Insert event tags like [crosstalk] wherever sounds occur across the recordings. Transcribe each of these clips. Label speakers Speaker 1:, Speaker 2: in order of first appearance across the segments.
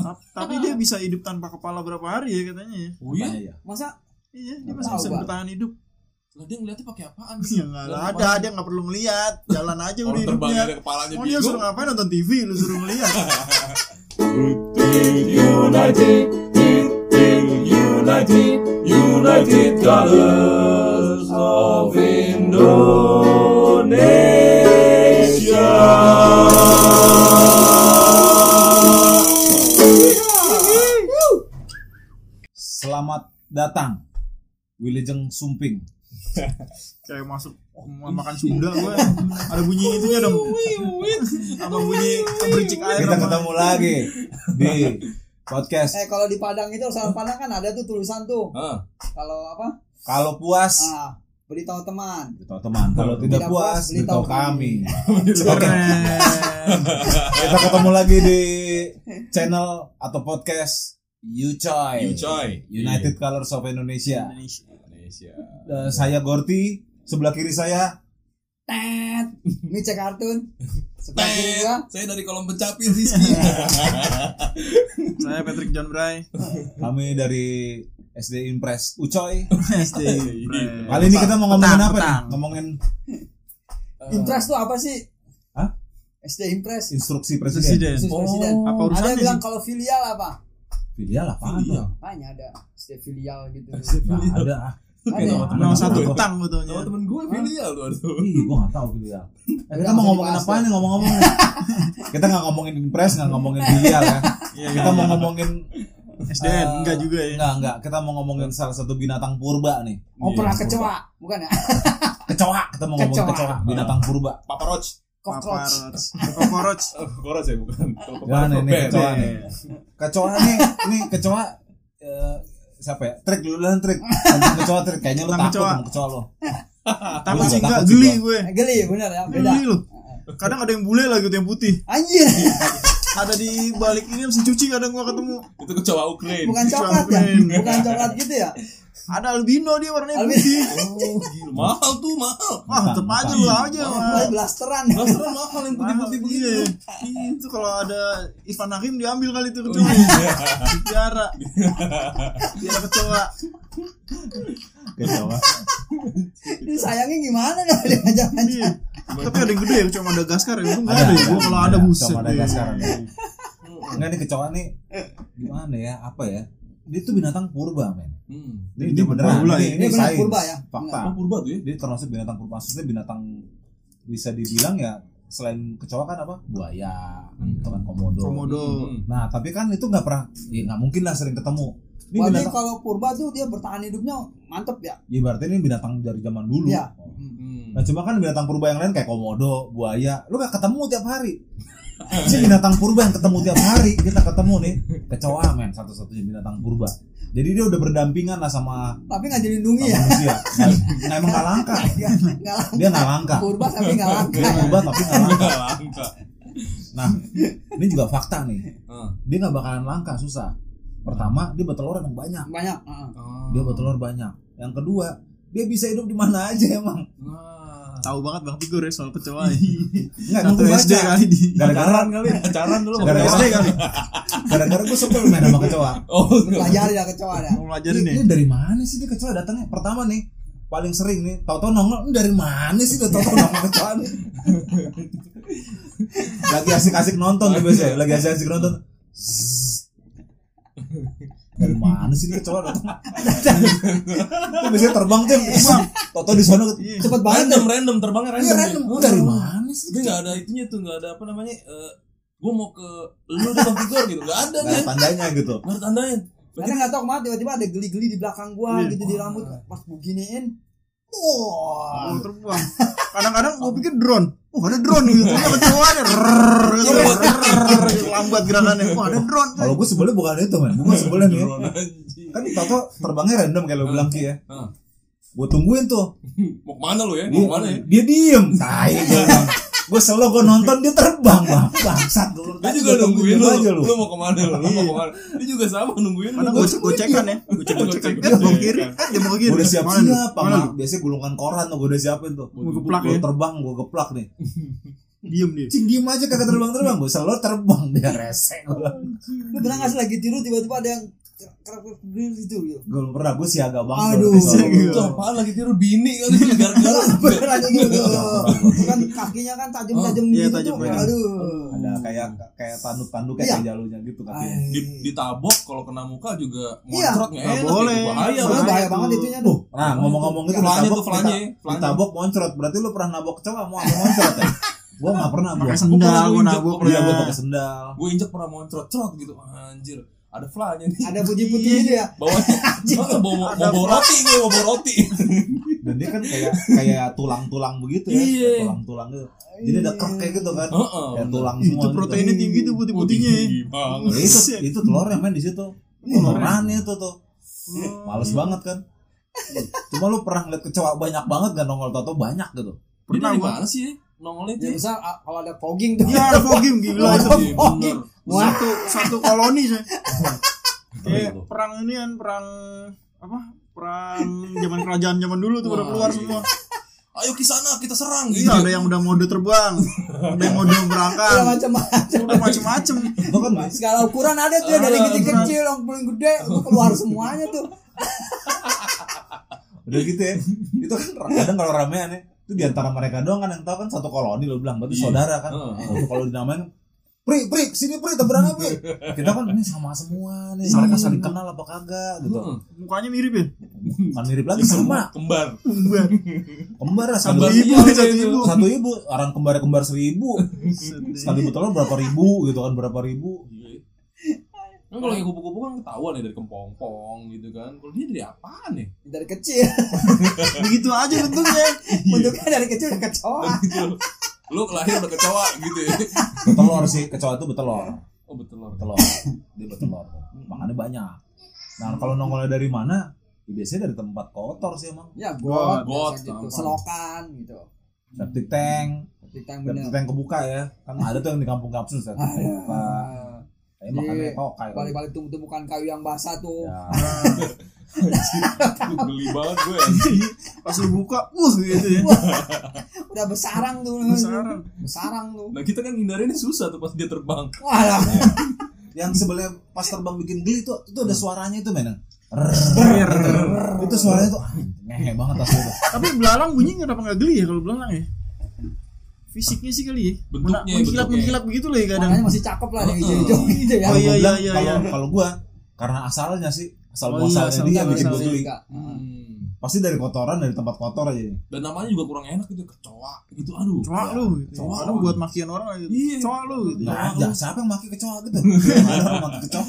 Speaker 1: Ta- tapi dia bisa hidup tanpa kepala berapa hari ya katanya ya
Speaker 2: Oh iya?
Speaker 3: Apanya ya?
Speaker 2: Masa
Speaker 1: iya dia masih
Speaker 2: Tahu,
Speaker 1: bisa
Speaker 2: Bang.
Speaker 1: bertahan hidup [laughs]
Speaker 2: lah dia ngeliatnya pakai apaan
Speaker 1: ya nggak
Speaker 2: Lah,
Speaker 1: ada dia nggak perlu ngeliat jalan aja udah
Speaker 3: Orang terbang
Speaker 1: hidupnya
Speaker 3: dari kepalanya
Speaker 1: mau dia
Speaker 3: bingung.
Speaker 1: suruh ngapain nonton TV lu suruh
Speaker 4: [laughs]
Speaker 1: ngeliat
Speaker 5: United, United, United Colors of Indonesia.
Speaker 4: Selamat datang Wilujeng Sumping
Speaker 1: kayak masuk mau makan sunda gue ada bunyi itunya
Speaker 4: [laughs]
Speaker 1: dong sama bunyi bericik air
Speaker 4: Kita
Speaker 1: sama-
Speaker 4: ketemu lagi Di podcast
Speaker 2: Eh kalau di Padang itu orang Padang kan ada tuh tulisan tuh.
Speaker 3: Heeh.
Speaker 2: Kalau apa?
Speaker 4: Kalau puas
Speaker 2: Ah, beritahu teman.
Speaker 4: Beritahu teman Kalau tidak puas Beritahu kami Oke
Speaker 1: keren
Speaker 4: Kita ketemu lagi di channel atau podcast You Choi
Speaker 3: You coy.
Speaker 4: United Colors of Indonesia
Speaker 1: Indonesia.
Speaker 3: Indonesia.
Speaker 4: Eh, Saya Gorti Sebelah kiri saya
Speaker 2: Tet. Ini cek kartun. Sebelah kiri
Speaker 3: Tet,
Speaker 2: gua.
Speaker 3: saya dari kolom pencapil Rizky.
Speaker 1: saya Patrick John Bray
Speaker 4: Kami dari SD Impress Ucoy
Speaker 1: SD
Speaker 4: Kali ini kita mau ngomongin
Speaker 1: Petang,
Speaker 4: apa nih?
Speaker 1: petang.
Speaker 4: Ngomongin
Speaker 2: Impress tuh apa sih?
Speaker 4: Hah?
Speaker 2: SD Impress.
Speaker 4: instruksi presiden
Speaker 1: presiden
Speaker 2: Khusus presiden.
Speaker 1: apa
Speaker 2: Ada
Speaker 1: urusannya
Speaker 2: yang bilang
Speaker 1: sih
Speaker 2: kalau filial apa?
Speaker 4: Filial apaan tuh?
Speaker 2: Makanya ada SD filial gitu.
Speaker 4: Nggak ada ah.
Speaker 2: Ada ya?
Speaker 4: Temen
Speaker 1: nol satu
Speaker 4: gue.
Speaker 1: petang gue taunya
Speaker 3: Sama temen gue filial tuh aduh.
Speaker 4: Ih, gua nggak tahu filial. Eh, kita
Speaker 2: Langsung
Speaker 4: mau ngomongin
Speaker 2: dibahas
Speaker 4: apa nih ngomong-ngomong? nih? [laughs] kita nggak ngomongin impres, nggak ngomongin filial ya.
Speaker 1: Iya,
Speaker 4: Kita
Speaker 1: iya,
Speaker 4: mau
Speaker 1: iya.
Speaker 4: ngomongin
Speaker 1: SDN
Speaker 4: eh,
Speaker 1: enggak juga ya
Speaker 4: Enggak, enggak. Kita mau ngomongin salah satu binatang purba nih.
Speaker 2: Oh pernah
Speaker 4: Iya.
Speaker 2: kecewa, bukan ya?
Speaker 4: Kecoa, kita mau ngomongin
Speaker 2: Kecoa.
Speaker 4: kecoa, binatang purba.
Speaker 3: Papa Roach.
Speaker 2: Cockroach.
Speaker 1: [laughs] kokoroch
Speaker 3: Oh, Roach ya bukan. Kalau Papa
Speaker 4: Jangan
Speaker 3: Roach,
Speaker 4: ini
Speaker 3: Ben.
Speaker 4: kecoa nih. Kecoa nih, ini kecoa eh, siapa ya? Trik dulu lah trik. Tentang kecoa trik kayaknya lu
Speaker 1: Tentang
Speaker 4: takut
Speaker 1: kecoa.
Speaker 4: sama kecoa lo.
Speaker 1: tapi
Speaker 4: Gua
Speaker 1: sih
Speaker 4: juga
Speaker 1: enggak
Speaker 4: takut sih
Speaker 1: geli gue
Speaker 2: Geli bener ya, beda.
Speaker 1: geli loh kadang ada yang bule lagi ada yang putih
Speaker 2: Anjir,
Speaker 1: ada di balik ini mesin cuci kadang gue ketemu
Speaker 3: Itu kecoa Ukraine.
Speaker 2: bukan coklat ya?
Speaker 1: Cuan.
Speaker 2: Bukan coklat gitu ya?
Speaker 1: ada albino dia warnanya
Speaker 2: Albino.
Speaker 1: putih
Speaker 3: Oh, gila. Mahal tuh, mahal.
Speaker 1: wah tetep aja lu aja
Speaker 2: Oh, Mulai
Speaker 1: Wah.
Speaker 2: blasteran. [laughs]
Speaker 3: Blasteran mahal yang putih-putih begini.
Speaker 1: Iya. itu kalau ada Ivan Hakim diambil kali itu
Speaker 3: Oh,
Speaker 1: kecoa
Speaker 3: iya.
Speaker 1: Di piara piara kecoa
Speaker 4: [laughs] Kecoa.
Speaker 2: Ini sayangnya gimana dah dia
Speaker 1: Iya.
Speaker 2: ngajak-ngajak.
Speaker 1: tapi ada yang gede ya kecoa Madagaskar ya itu nggak
Speaker 4: Ada,
Speaker 1: ada ya
Speaker 4: ada,
Speaker 1: Gua kalau
Speaker 4: ada.
Speaker 1: ada
Speaker 4: Kecoa
Speaker 1: buset deh.
Speaker 4: Madagaskar ada. Enggak nih kecoa nih gimana ya? Apa ya? Dia tuh binatang purba, men.
Speaker 3: Hmm.
Speaker 4: Ini, ini beneran
Speaker 1: Purba ya?
Speaker 4: ini, ini,
Speaker 2: Ini beneran
Speaker 4: sains,
Speaker 2: purba ya?
Speaker 4: fakta.
Speaker 3: Oh, purba tuh ya.
Speaker 4: Dia termasuk binatang purba maksudnya binatang bisa dibilang ya selain kecoa kan apa buaya,
Speaker 3: Hmm.
Speaker 4: gitu kan komodo.
Speaker 1: komodo
Speaker 3: Hmm.
Speaker 4: Nah tapi kan itu nggak pernah, ya nggak mungkin lah sering ketemu. Ini
Speaker 2: Berarti
Speaker 4: binatang,
Speaker 2: kalau purba tuh dia bertahan hidupnya mantep ya.
Speaker 4: ya berarti ini binatang dari zaman dulu.
Speaker 2: Iya.
Speaker 3: Hmm.
Speaker 4: Nah cuma kan binatang purba yang lain kayak komodo, buaya, lu gak ketemu tiap hari. Si binatang purba yang ketemu tiap hari kita ketemu nih kecoa men satu-satunya binatang purba. Jadi dia udah berdampingan lah sama,
Speaker 2: Tapi nggak
Speaker 4: sama
Speaker 2: dilindungi ya.
Speaker 4: manusia. Nah, nah, emang gak langka,
Speaker 2: Nggak nggak langka.
Speaker 4: dia gak langka.
Speaker 2: Purba tapi nggak langka.
Speaker 4: Dia purba tapi gak
Speaker 3: [laughs]
Speaker 4: langka.
Speaker 3: Nggak langka.
Speaker 4: Nah ini juga fakta nih,
Speaker 3: Heeh.
Speaker 4: dia gak bakalan langka susah. Pertama dia bertelur emang banyak,
Speaker 2: Banyak. heeh.
Speaker 4: dia bertelur banyak. Yang kedua dia bisa hidup di mana aja emang.
Speaker 3: Nah.
Speaker 1: tahu banget bang Tigor ya soal kecoa
Speaker 4: Nggak
Speaker 1: satu kan?
Speaker 4: nunggu
Speaker 1: SD
Speaker 4: baca.
Speaker 1: kali di
Speaker 4: Gara-gara
Speaker 3: kali, ya, pacaran dulu.
Speaker 4: Gara-gara
Speaker 3: Gara-gara.
Speaker 1: SD kali
Speaker 4: kan? gara-gara gue sebel main sama kecoa.
Speaker 3: Oh, enggak.
Speaker 2: Pelajari ya kecoa ya.
Speaker 1: mau pelajarin
Speaker 4: ini,
Speaker 1: ya
Speaker 4: ini dari mana sih dia kecoa datangnya? Pertama nih paling sering nih tahu-tahu nongol "Ini dari mana sih tahu-tahu [laughs] nongol kecoa nih? lagi asik-asik nonton tuh biasanya, lagi asik-asik nonton. Zzz. Dari mana sih dia kecoa datang? Itu biasanya terbang tuh, bang. Tahu-tahu di sana
Speaker 2: Cepet banget.
Speaker 3: Random, random, terbangnya
Speaker 4: Iya
Speaker 3: random.
Speaker 4: random.
Speaker 3: Oh,
Speaker 4: Dari mana sih?
Speaker 3: Dia nggak ada itunya tuh, nggak ada apa namanya. Eh, gue mau ke lu di Bang Tigor gitu, nggak ada
Speaker 4: Nah,
Speaker 3: nih.
Speaker 4: tandanya gitu.
Speaker 3: Nggak ada tandanya.
Speaker 2: Karena nggak tahu kemana tiba-tiba ada geli-geli di belakang gua
Speaker 1: Iya.
Speaker 2: gitu di rambut pas gua giniin. Wah.
Speaker 1: Oh, terbang. [laughs] Kadang-kadang gue pikir drone. Oh, ada drone gitu. Ternyata kecoa ada. Rrrr, gitu. Rrrr, gitu. Lambat gerakannya. Oh, ada drone.
Speaker 4: Kalau gue sebelnya bukan itu, men. Bukan sebelnya nih.
Speaker 3: Drone anjing.
Speaker 4: Kan tahu-tahu terbangnya random kayak lo bilang Ki ya.
Speaker 3: Hah.
Speaker 4: Gue tungguin tuh.
Speaker 3: Mau kemana lu ya? Mau kemana ya?
Speaker 4: dia, dia diem tai
Speaker 3: [laughs]
Speaker 4: gue selo gue nonton dia terbang bang bangsat gue
Speaker 3: Dia juga nungguin lu.
Speaker 4: aja lu Iya.
Speaker 3: Lu mau kemana lu? Lu mau kemana? Dia juga sama nungguin lu.
Speaker 1: Kadang gue gocekan ya. Gue cek gocekan. Eh, mau ke kiri. Eh, dia mau ke kiri.
Speaker 4: gue udah siap
Speaker 1: Mana lu?
Speaker 4: siap
Speaker 1: Mana lu?
Speaker 4: biasanya gulungan koran tuh gue udah siapin tuh
Speaker 1: Gua geplak
Speaker 4: Gua
Speaker 1: ya.
Speaker 4: terbang gue geplak nih
Speaker 1: diem dia
Speaker 4: Cing diem aja kagak terbang-terbang gue selalu terbang dia rese gua.
Speaker 2: Lu pernah nggak sih lagi tidur tiba-tiba ada yang kerap kerap gitu gitu.
Speaker 4: Gue belum pernah gue siaga banget
Speaker 2: Aduh,
Speaker 4: kalau pesawat.
Speaker 1: siaga.
Speaker 3: Itu apaan lagi tiru bini kali
Speaker 4: [laughs]
Speaker 3: gara-gara
Speaker 4: Iya.
Speaker 2: Bener aja gitu.
Speaker 1: [laughs]
Speaker 2: Bukan kakinya kan tajam-tajam
Speaker 1: Oh, iya,
Speaker 2: gitu.
Speaker 1: tajam,
Speaker 2: tuh.
Speaker 1: iya.
Speaker 2: Aduh.
Speaker 4: Ada kayak kayak tanduk-tanduk kayak
Speaker 2: Iya.
Speaker 4: di jalurnya gitu kakinya
Speaker 2: Ay.
Speaker 3: Di- ditabok kalau kena muka juga
Speaker 2: Iya.
Speaker 3: moncrot nggak
Speaker 1: Nggak
Speaker 3: enak
Speaker 1: boleh.
Speaker 3: itu
Speaker 4: Iya.
Speaker 3: bahaya
Speaker 2: Soalnya
Speaker 1: Bahaya
Speaker 2: bahaya
Speaker 1: tuh.
Speaker 2: banget itunya tuh.
Speaker 4: Nah ngomong-ngomong itu
Speaker 3: Flanya
Speaker 4: ditabok,
Speaker 3: tuh, flanya,
Speaker 4: dita-
Speaker 3: flanya.
Speaker 4: ditabok moncrot Berarti lu pernah nabok kecoa mau sama moncrot ya? Gue gak pernah gue
Speaker 1: pakai sendal
Speaker 3: gua
Speaker 1: gue
Speaker 3: injek,
Speaker 1: nabok
Speaker 3: gua
Speaker 4: Iya gue
Speaker 1: pernah.
Speaker 4: pakai sendal
Speaker 3: gue injek pernah moncrot crot gitu anjir ada flanya nih
Speaker 2: Ada putih-putih gitu ya.
Speaker 3: [laughs] bawa bawa bawa
Speaker 1: Ada
Speaker 3: bawa roti gue bawa bawa
Speaker 1: [laughs]
Speaker 3: roti
Speaker 4: Dan dia kan kayak kayak tulang-tulang begitu ya
Speaker 3: Iya.
Speaker 4: kayak Tulang-tulang gitu Jadi ada krek kayak gitu kan
Speaker 3: Heeh,
Speaker 4: Kayak
Speaker 3: bener.
Speaker 4: tulang semua
Speaker 1: itu
Speaker 4: gitu.
Speaker 1: proteinnya tinggi Ya, tuh putih-putihnya ya.
Speaker 3: Oh, Tinggi banget.
Speaker 4: Ya, itu itu telurnya main di situ. Telurnya tuh tuh. Males banget kan. Cuma lu pernah ngeliat kecoa banyak banget gak nongol tato banyak gitu.
Speaker 3: Dia
Speaker 1: Pernah
Speaker 3: dari
Speaker 1: gua.
Speaker 3: mana sih eh? nongolnya
Speaker 2: Ya
Speaker 1: [laughs]
Speaker 3: dia
Speaker 2: misal ah, kalau ada fogging tuh.
Speaker 1: Iya, ada fogging gila itu.
Speaker 3: Iya, bener.
Speaker 2: Wah.
Speaker 1: Satu satu koloni saya.
Speaker 4: Ngeri
Speaker 1: Kayak
Speaker 4: tuh.
Speaker 1: perang ini kan perang apa? Perang zaman kerajaan zaman dulu tuh udah
Speaker 3: Wah,
Speaker 1: keluar
Speaker 3: iya.
Speaker 1: semua.
Speaker 3: ayo ke sana kita serang gitu
Speaker 1: Iya, ada yang udah mode terbang, ada yang mode berangkat,
Speaker 2: Ada macam-macam.
Speaker 1: udah macem-macem.
Speaker 4: Itu kan Mas.
Speaker 2: [laughs] Segala ukuran ada tuh ya, dari
Speaker 3: Ada,
Speaker 2: kecil-kecil yang paling gede itu keluar semuanya tuh.
Speaker 4: udah gitu ya. Itu kan kadang kalau ramean ya. Itu di antara mereka doang kan yang tahu kan satu koloni lu bilang berarti
Speaker 3: Iya.
Speaker 4: saudara kan.
Speaker 3: Heeh.
Speaker 4: Waktu kalau dinamain Pri, pri, sini pri, teberang pri. Kita kan ini sama semua nih. Mereka saling kenal apa kagak gitu.
Speaker 3: Heeh.
Speaker 1: Mukanya mirip ya?
Speaker 4: Kan mirip lagi sama.
Speaker 3: Hmm. kembar
Speaker 1: Kembar.
Speaker 4: Kembar lah
Speaker 1: Satu
Speaker 4: satu
Speaker 3: Kembar.
Speaker 1: ibu,
Speaker 3: Iya,
Speaker 1: satu
Speaker 3: iya,
Speaker 1: ibu.
Speaker 4: satu ibu orang kembar kembar seribu sekali betul berapa ribu gitu kan berapa ribu
Speaker 3: Iya.
Speaker 1: [laughs]
Speaker 3: Kan kalau yang kupu-kupu kan ketahuan ya dari kempong-pong gitu kan. Kalau dia dari apaan ya?
Speaker 2: Dari [laughs] kecil.
Speaker 1: Begitu aja bentuknya.
Speaker 2: Bentuknya dari kecil udah kecoa.
Speaker 3: [laughs] Gitu. Lu lahir udah kecewa gitu ya. [laughs]
Speaker 4: betelor sih kecoa itu betelor
Speaker 3: Oh betul
Speaker 1: [laughs]
Speaker 3: loh.
Speaker 4: betelor dia betelor makannya banyak nah kalau nongolnya dari mana Ya, biasanya dari tempat kotor sih emang
Speaker 2: Ya
Speaker 1: Got,
Speaker 2: got,
Speaker 3: got,
Speaker 2: biasa gitu.
Speaker 3: gampang.
Speaker 2: Selokan gitu.
Speaker 4: septic tank
Speaker 2: Tapi tang
Speaker 4: septic
Speaker 2: bener.
Speaker 4: tank kebuka ya kan ada tuh yang di kampung kapsul septic tank kebuka
Speaker 2: Ah,
Speaker 4: tapi makannya tokai
Speaker 2: Balik-balik tumbuh-tumbukan kayu yang basah tuh.
Speaker 4: ya
Speaker 3: Lu geli banget ya. gue.
Speaker 1: Pas lu buka, uh gitu ya.
Speaker 2: Udah besarang tuh.
Speaker 1: Besarang.
Speaker 2: Besarang tuh.
Speaker 3: Nah kita kan ngindarinnya susah tuh pas dia terbang.
Speaker 2: Walah.
Speaker 4: yang sebelah pas terbang bikin geli itu itu ada suaranya itu men itu suaranya tuh ah, ngehe banget asli tuh.
Speaker 1: Tapi belalang bunyi kenapa nggak geli ya kalau belalang ya? Fisiknya sih kali ya.
Speaker 3: Bentuknya,
Speaker 1: mengkilat
Speaker 3: bentuknya.
Speaker 1: mengkilat begitu lah ya kadang.
Speaker 2: Makanya masih cakep lah yang hijau-hijau gitu ya.
Speaker 1: Oh, iya,
Speaker 4: Gua bilang,
Speaker 1: iya,
Speaker 4: kalau
Speaker 1: iya.
Speaker 4: kalau gua karena asalnya sih asal
Speaker 1: Oh,
Speaker 4: muasalnya
Speaker 1: iya, asal
Speaker 4: dia yang
Speaker 1: muasalnya
Speaker 4: bikin gua
Speaker 1: sih.
Speaker 4: geli.
Speaker 2: Hmm.
Speaker 4: pasti dari kotoran dari tempat kotor aja Iya, ini
Speaker 3: Dan namanya juga kurang enak gitu kecoa gitu. Aduh.
Speaker 1: Cowok lu, gitu.
Speaker 3: Cowok.
Speaker 1: Aduh, buat makian orang aja.
Speaker 3: Iya.
Speaker 1: Cowok lu. gitu.
Speaker 4: nggak ada siapa yang maki kecoa [laughs] gitu Nggak ada yang maki kecoa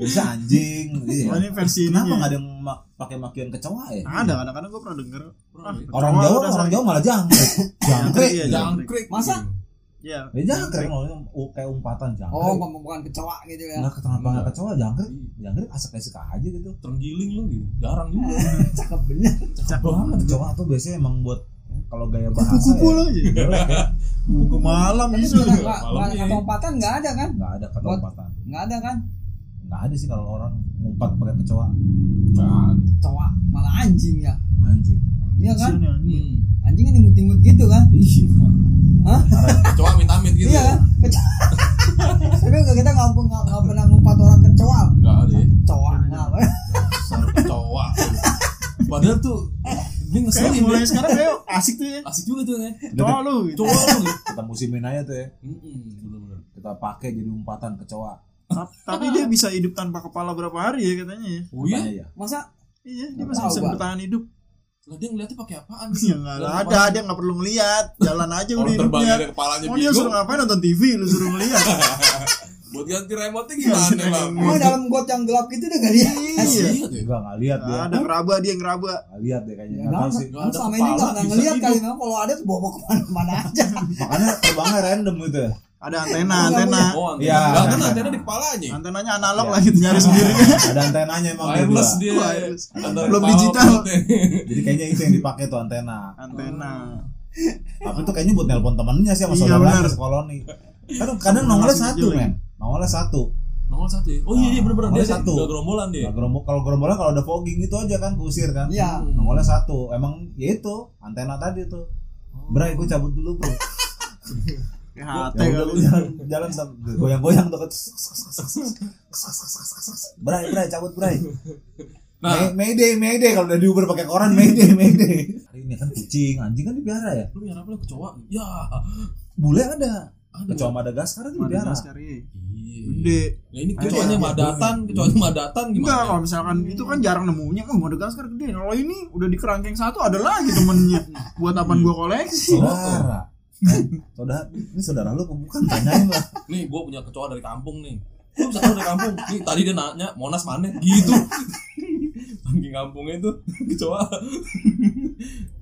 Speaker 4: bisa anjing gitu
Speaker 1: Oh,
Speaker 4: ya.
Speaker 1: ini versi
Speaker 4: kenapa
Speaker 1: ininya.
Speaker 4: nggak ada yang ma- pakai makian kecoa ya
Speaker 1: Ada kadang-kadang gue pernah denger.
Speaker 3: Kurang ya.
Speaker 4: orang
Speaker 1: Kecoa
Speaker 4: Jawa
Speaker 1: udah
Speaker 4: orang
Speaker 1: sakit.
Speaker 4: Jawa malah jangkrik jangkrik
Speaker 1: Iya,
Speaker 4: ya
Speaker 3: Jangkrik.
Speaker 2: Masa?
Speaker 1: Iya.
Speaker 4: jangkrik ngomongnya u- kayak umpatan
Speaker 2: Oh,
Speaker 4: jangkrik
Speaker 2: bukan kecoa gitu ya.
Speaker 4: nggak kenapa nggak kecoa jangkrik
Speaker 3: Iya.
Speaker 4: jangkrik asal asik aja gitu
Speaker 3: Terenggiling lu gitu. Jarang juga.
Speaker 2: Cakep bener.
Speaker 1: Cakep
Speaker 3: banget.
Speaker 4: kecoa tuh biasanya emang buat kalau gaya bahasa
Speaker 1: Kupu-kupu
Speaker 4: ya,
Speaker 1: lu aja.
Speaker 4: jelek ya
Speaker 1: Kupu malam gitu.
Speaker 2: Tapi
Speaker 1: bisa.
Speaker 2: sekarang nggak-
Speaker 3: malam
Speaker 2: nggak-
Speaker 3: ini.
Speaker 2: kata umpatan iya. nggak ada kan?
Speaker 4: nggak ada kata
Speaker 2: Buat-
Speaker 4: umpatan
Speaker 2: Nggak ada kan?
Speaker 4: nggak ada sih kalau orang ngumpat pakai kecoa
Speaker 3: Nah,
Speaker 2: Kecoa malah anjing ya.
Speaker 4: anjing
Speaker 2: Iya kan?
Speaker 1: Kasian ya, ini.
Speaker 3: hmm.
Speaker 2: Anjing kan imut-imut gitu kan? Hah?
Speaker 3: Kecoa amit-amit gitu.
Speaker 2: Iya kan?
Speaker 3: ya?
Speaker 2: Kecoa. [laughs] Tapi nggak- kita nggak nggak- nggak pernah ngumpat orang kecoa.
Speaker 3: Nggak ada ya.
Speaker 2: Kecoa nggak.
Speaker 3: Dasar kecoa. Padahal tuh
Speaker 2: Eh.
Speaker 3: dia
Speaker 1: Kayak
Speaker 3: ngeselin
Speaker 1: mulai
Speaker 3: ya.
Speaker 1: sekarang kayak asik tuh ya.
Speaker 3: Asik juga tuh ya.
Speaker 1: Cowok lu. gitu.
Speaker 3: Kecoa lu. gitu.
Speaker 4: kita musimin aja tuh ya
Speaker 3: Mm-mm, bener-bener.
Speaker 4: kita pakai jadi umpatan kecoa
Speaker 1: Ta- Tapi dia bisa hidup tanpa kepala berapa hari ya katanya ya.
Speaker 3: Oh iya?
Speaker 4: Katanya ya
Speaker 2: Masa
Speaker 1: Iya, dia masih
Speaker 2: Tahu,
Speaker 1: bisa
Speaker 2: Pak.
Speaker 1: bertahan hidup.
Speaker 3: Lah dia ngeliatnya pakai apaan
Speaker 1: Ya nggak ada, dia nggak perlu ngeliat. Jalan aja udah
Speaker 3: Orang terbangnya
Speaker 1: hidupnya.
Speaker 3: dari kepalanya
Speaker 1: Mau dia
Speaker 3: bingung.
Speaker 1: suruh ngapain nonton TV, lu suruh ngeliat.
Speaker 3: Buat ganti remote
Speaker 1: [laughs]
Speaker 3: gimana bang? ya.
Speaker 2: emang dalam got yang gelap gitu udah gak lihat?
Speaker 1: Iya.
Speaker 4: enggak nggak lihat dia
Speaker 1: Nah, ada ngeraba dia ngeraba.
Speaker 4: nggak lihat dia kayaknya
Speaker 2: Ya,
Speaker 4: nggak tahu
Speaker 2: nggak-
Speaker 4: sih
Speaker 2: kan selama ini nggak nggak ngelihat kali memang kalau ada tuh bawa kemana-mana aja. [laughs]
Speaker 4: makanya terbangnya random gitu ya
Speaker 1: Ada antena,
Speaker 2: Nggak
Speaker 1: antena.
Speaker 3: Oh, antena.
Speaker 4: Iya.
Speaker 3: Nggak kan antena di kepalanya.
Speaker 1: Antenanya analog
Speaker 4: Iya.
Speaker 1: lah gitu nyari sendiri.
Speaker 4: ada antenanya emang dia dua
Speaker 3: Wireless dia.
Speaker 1: Wireless.
Speaker 3: Antara
Speaker 1: Belum
Speaker 3: kepala
Speaker 1: digital.
Speaker 3: perutnya.
Speaker 4: jadi kayaknya itu yang dipakai tuh antena
Speaker 1: Antena.
Speaker 4: tapi itu kayaknya buat nelpon temennya sih sama
Speaker 1: Iya,
Speaker 4: saudaranya
Speaker 1: benar.
Speaker 4: sekoloni kadang Kan kadang nongolnya
Speaker 1: Masih
Speaker 4: satu
Speaker 1: kecil,
Speaker 4: men nongolnya satu
Speaker 3: [laughs] Nongol satu. ya? Oh iya iya bener-bener dia
Speaker 4: Nongol
Speaker 3: sih.
Speaker 4: satu.
Speaker 3: Nggak gerombolan dia.
Speaker 4: Nah, gerombol kalau gerombolan kalau ada fogging itu aja kan kusir kan
Speaker 2: Iya.
Speaker 3: Hmm.
Speaker 4: nongolnya satu emang ya itu antena tadi tuh Bray, gue cabut dulu bro
Speaker 1: PHT
Speaker 4: Ya udah,
Speaker 1: kali.
Speaker 4: lu jalan jalan sam- goyang-goyang tuh kan. Berai, berai, cabut berai.
Speaker 3: Nah.
Speaker 4: Nah, Mayday, Mayday kalau udah diuber pakai koran Mayday, Mayday. Ini kan kucing, anjing kan dipiara ya.
Speaker 3: Lu yang apa lu kecoa? Ya.
Speaker 4: Bule ada.
Speaker 3: Aduh.
Speaker 4: Kecoa Madagaskar kan dipiara.
Speaker 1: Madagaskar iya.
Speaker 3: Iya.
Speaker 1: Gede.
Speaker 3: Nah ini
Speaker 4: Ada
Speaker 3: kecoanya
Speaker 4: yang-
Speaker 3: madatan, kecoanya madatan
Speaker 1: Enggak
Speaker 3: gimana?
Speaker 1: kalau misalkan itu kan jarang nemunya. Oh, Madagaskar gede. Kalau ini udah di kerangkeng satu ada lagi temennya. Buat apaan gua koleksi?
Speaker 4: Saudara. Eh, Saudara, ini saudara lu apa bukan tanyain lah.
Speaker 3: Nih gua punya kecoa dari kampung nih. Lu bisa tahu dari kampung. Nih tadi dia nanya Monas mana?
Speaker 1: [laughs]
Speaker 3: Gitu. Saking kampungnya itu kecoa.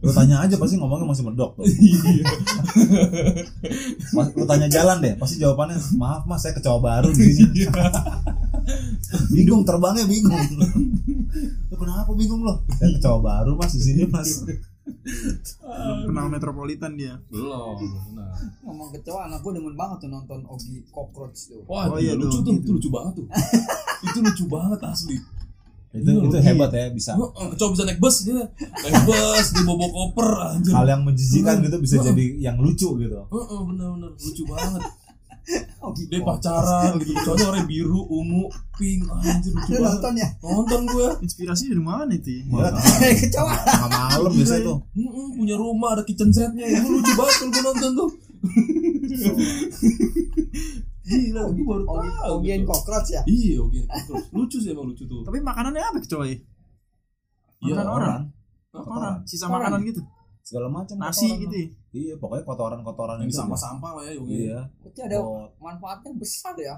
Speaker 4: Lu tanya aja pasti ngomongnya masih medok tuh. Mas- Lu tanya jalan deh, pasti jawabannya maaf mas saya kecoa baru di sini. bingung terbangnya bingung. Lu kenapa bingung lo? Saya kecoa baru mas di sini mas.
Speaker 1: Kenal metropolitan dia.
Speaker 3: Belum. Nah.
Speaker 2: ngomong kecoa anak gue demen banget tuh nonton Ogi Cockroach tuh
Speaker 3: Wah,
Speaker 1: Oh,
Speaker 3: itu
Speaker 1: iya tuh,
Speaker 3: lucu tuh,
Speaker 1: gitu.
Speaker 3: itu lucu banget
Speaker 1: [laughs]
Speaker 3: tuh. itu lucu banget asli.
Speaker 4: Itu itu hebat ya bisa.
Speaker 3: Gua eh, kecoa bisa naik bus dia. Naik bus di bobo koper anjir.
Speaker 4: Hal yang menjijikan gitu bisa jadi yang lucu gitu.
Speaker 3: Heeh, bener-bener lucu banget.
Speaker 2: Ogi
Speaker 3: Dia pacaran gitu, kecoanya warna biru, ungu, pink, anjir lucu
Speaker 2: lu
Speaker 3: banget.
Speaker 2: nonton ya [laughs]
Speaker 3: Nonton gua.
Speaker 1: Inspirasi dari mana itu? ya?
Speaker 4: Ya,
Speaker 2: Dari kecoa
Speaker 4: tengah malam biasanya tuh.
Speaker 3: Mm-mm, punya rumah ada kitchen setnya itu lucu banget kalau gue nonton tuh gila gue baru
Speaker 2: Ogi
Speaker 3: tahu
Speaker 2: Ogi and
Speaker 3: gitu.
Speaker 2: Cockroach ya
Speaker 3: iya Ogien Cockroach lucu sih emang lucu tuh
Speaker 1: Tapi makanannya apa kecoa ya?
Speaker 3: Iya,
Speaker 1: Makanan orang.
Speaker 4: Kotoran.
Speaker 1: Orang, sisa makanan gitu.
Speaker 4: Segala macam
Speaker 1: Nasi
Speaker 4: kotoran.
Speaker 1: gitu. ya.
Speaker 4: Iya, pokoknya kotoran-kotoran
Speaker 3: yang
Speaker 4: itu.
Speaker 3: sampah-sampah lah ya Ogien
Speaker 4: Iya.
Speaker 2: berarti ada
Speaker 4: Kot-
Speaker 2: manfaatnya besar ya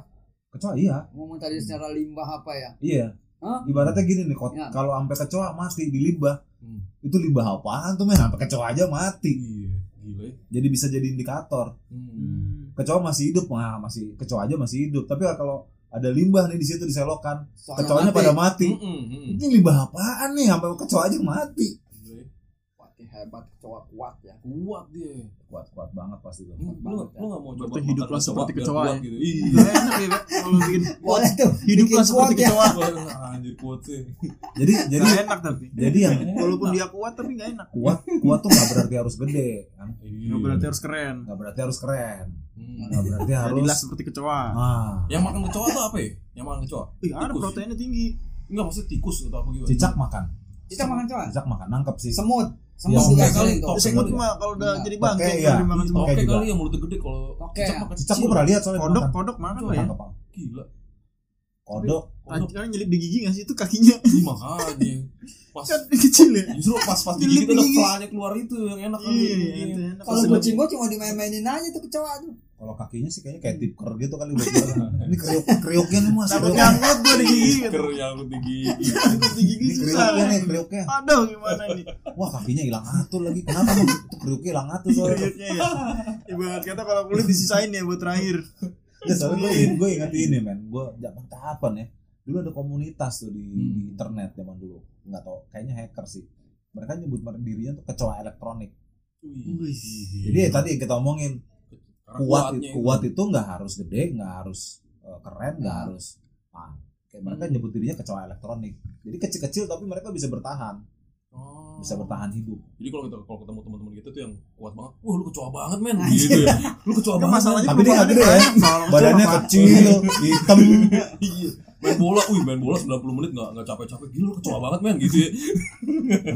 Speaker 4: Kecoa iya.
Speaker 2: ngomong tadi secara limbah apa ya
Speaker 4: Iya.
Speaker 2: Hah?
Speaker 4: Ibaratnya gini nih, kot-
Speaker 2: Ya.
Speaker 4: kalau sampai kecoa mati di limbah,
Speaker 3: Hmm.
Speaker 4: itu limbah apaan tuh men? Sampai kecoa aja mati.
Speaker 3: iya gila ya
Speaker 4: Jadi bisa jadi indikator.
Speaker 3: Hmm.
Speaker 4: Kecoa masih hidup, nah masih kecoa aja masih hidup. Tapi kalau ada limbah nih di situ diselokan,
Speaker 2: Soalnya
Speaker 4: kecoanya
Speaker 2: mati. Hmm.
Speaker 4: pada mati.
Speaker 3: Mm-mm, mm-mm.
Speaker 4: Ini limbah apaan nih? Sampai kecoa aja mati.
Speaker 3: Gila ya.
Speaker 2: Wah, hebat kecoa kuat ya
Speaker 3: kuat dia
Speaker 4: Kuat-kuat banget pasti tuh.
Speaker 3: Hmm, lu lu nggak mau coba
Speaker 1: Berarti hiduplah
Speaker 3: makan
Speaker 1: seperti
Speaker 3: biar
Speaker 1: kecoa
Speaker 3: kuat
Speaker 1: ya.
Speaker 3: gitu
Speaker 1: Iya,
Speaker 3: iya
Speaker 1: enak ya, Pak. Kalau bikin
Speaker 2: boleh tuh
Speaker 1: hiduplah
Speaker 2: Bikin
Speaker 1: seperti
Speaker 2: kuat
Speaker 1: [laughs]
Speaker 2: ya.
Speaker 1: kecoa.
Speaker 3: anjir Iya. kuat sih
Speaker 2: [laughs]
Speaker 4: Jadi jadi
Speaker 1: Gak enak tapi.
Speaker 4: jadi yang
Speaker 1: Walaupun dia kuat tapi gak enak.
Speaker 4: kuat kuat tuh nggak berarti harus gede, kan?
Speaker 1: Gak berarti harus keren.
Speaker 4: nggak berarti harus keren,
Speaker 3: Iya. Hmm.
Speaker 4: nggak berarti
Speaker 1: Jadilah
Speaker 4: harus
Speaker 1: seperti kecoa.
Speaker 4: ah
Speaker 3: yang makan kecoa tuh apa ya yang makan kecoa
Speaker 1: Ih, ada
Speaker 3: Tikus.
Speaker 1: proteinnya tinggi.
Speaker 3: Enggak maksudnya tikus atau apa gitu
Speaker 4: cicak makan,
Speaker 2: kita makan kecoa
Speaker 4: cicak makan nangkep sih.
Speaker 2: semut semut
Speaker 4: Iya,
Speaker 2: juga
Speaker 3: semut.
Speaker 2: sering tuh
Speaker 3: Toke
Speaker 1: Semut
Speaker 4: juga.
Speaker 1: mah kalau udah
Speaker 2: Enggak.
Speaker 1: jadi
Speaker 4: Toke,
Speaker 1: bangke
Speaker 4: iya.
Speaker 1: kalau dimakan semut.
Speaker 4: Oke
Speaker 3: Oke Oh.
Speaker 4: juga.
Speaker 3: kali yang mulutnya gede kalau
Speaker 2: Oke,
Speaker 3: cicak
Speaker 2: ya.
Speaker 3: makan
Speaker 4: Cicak
Speaker 3: kecil.
Speaker 4: gua pernah lihat soalnya
Speaker 1: Kodok,
Speaker 4: makan.
Speaker 1: kodok makan lah ya.
Speaker 4: Nangkep apa?
Speaker 3: Gila.
Speaker 4: Kodok.
Speaker 1: Tadi kan nyelip di gigi nggak sih itu kakinya?
Speaker 3: Ih, makanya. Pas
Speaker 1: Kan kecil
Speaker 4: Iya,
Speaker 1: ya.
Speaker 3: justru pas-pas
Speaker 1: Nyelip
Speaker 3: gigi kita udah
Speaker 1: gigi.
Speaker 3: pelanya keluar itu yang enak kali.
Speaker 1: Iya,
Speaker 3: Iya.
Speaker 1: itu enak.
Speaker 2: kalau
Speaker 1: Sedap.
Speaker 2: kucing gue cuma dimain-mainin aja tuh kecoa tuh
Speaker 4: Kalau kakinya sih kayaknya kayak tipker gitu kali buat gua. Ini kriuk kriuknya nih mas.
Speaker 1: Takut
Speaker 4: kriuknya.
Speaker 1: nyangkut gua di gigi gitu.
Speaker 3: Ker yang di gigi.
Speaker 1: Nyangkut Di gigi
Speaker 4: Ini
Speaker 1: susah.
Speaker 4: kriuknya nih kriuknya.
Speaker 1: Aduh gimana nih
Speaker 4: Wah kakinya hilang atur lagi. Kenapa Bang? Itu kriuknya hilang atur soalnya?
Speaker 1: Kriuknya ya Ibarat kata kalau kulit disisain ya buat terakhir
Speaker 4: Ya, soalnya gue gue ingat ini men. Gue zaman kapan ya? Dulu ada komunitas tuh di, di internet zaman dulu. Nggak tau. Kayaknya hacker sih. Mereka nyebut mer- dirinya tuh kecoa elektronik.
Speaker 3: Wih.
Speaker 4: Jadi ya, tadi yang kita omongin
Speaker 3: Karena
Speaker 4: kuat
Speaker 3: kuatnya
Speaker 4: kuat itu nggak harus gede, nggak harus eh, keren, nggak
Speaker 2: Nah.
Speaker 4: harus. Nah, kayak mereka nyebut dirinya kecoa elektronik. Jadi kecil-kecil tapi mereka bisa bertahan.
Speaker 3: itu. Oh.
Speaker 4: bisa bertahan hidup.
Speaker 3: Jadi kalau kita kalau ketemu teman-teman kita tuh yang kuat banget, wah lu kecoa banget men gitu ya. Lu kecoa
Speaker 1: Kan
Speaker 3: banget.
Speaker 1: masalahnya
Speaker 4: Tapi dia nggak
Speaker 1: perempuannya
Speaker 4: gede ya.
Speaker 1: banyak, kalau
Speaker 4: Badannya
Speaker 1: cowok,
Speaker 2: [laughs]
Speaker 4: kecil, hitam.
Speaker 3: men. Iya. Main bola, wih main bola 90 menit enggak enggak capek-capek. Gila lu kecoa banget men gitu ya.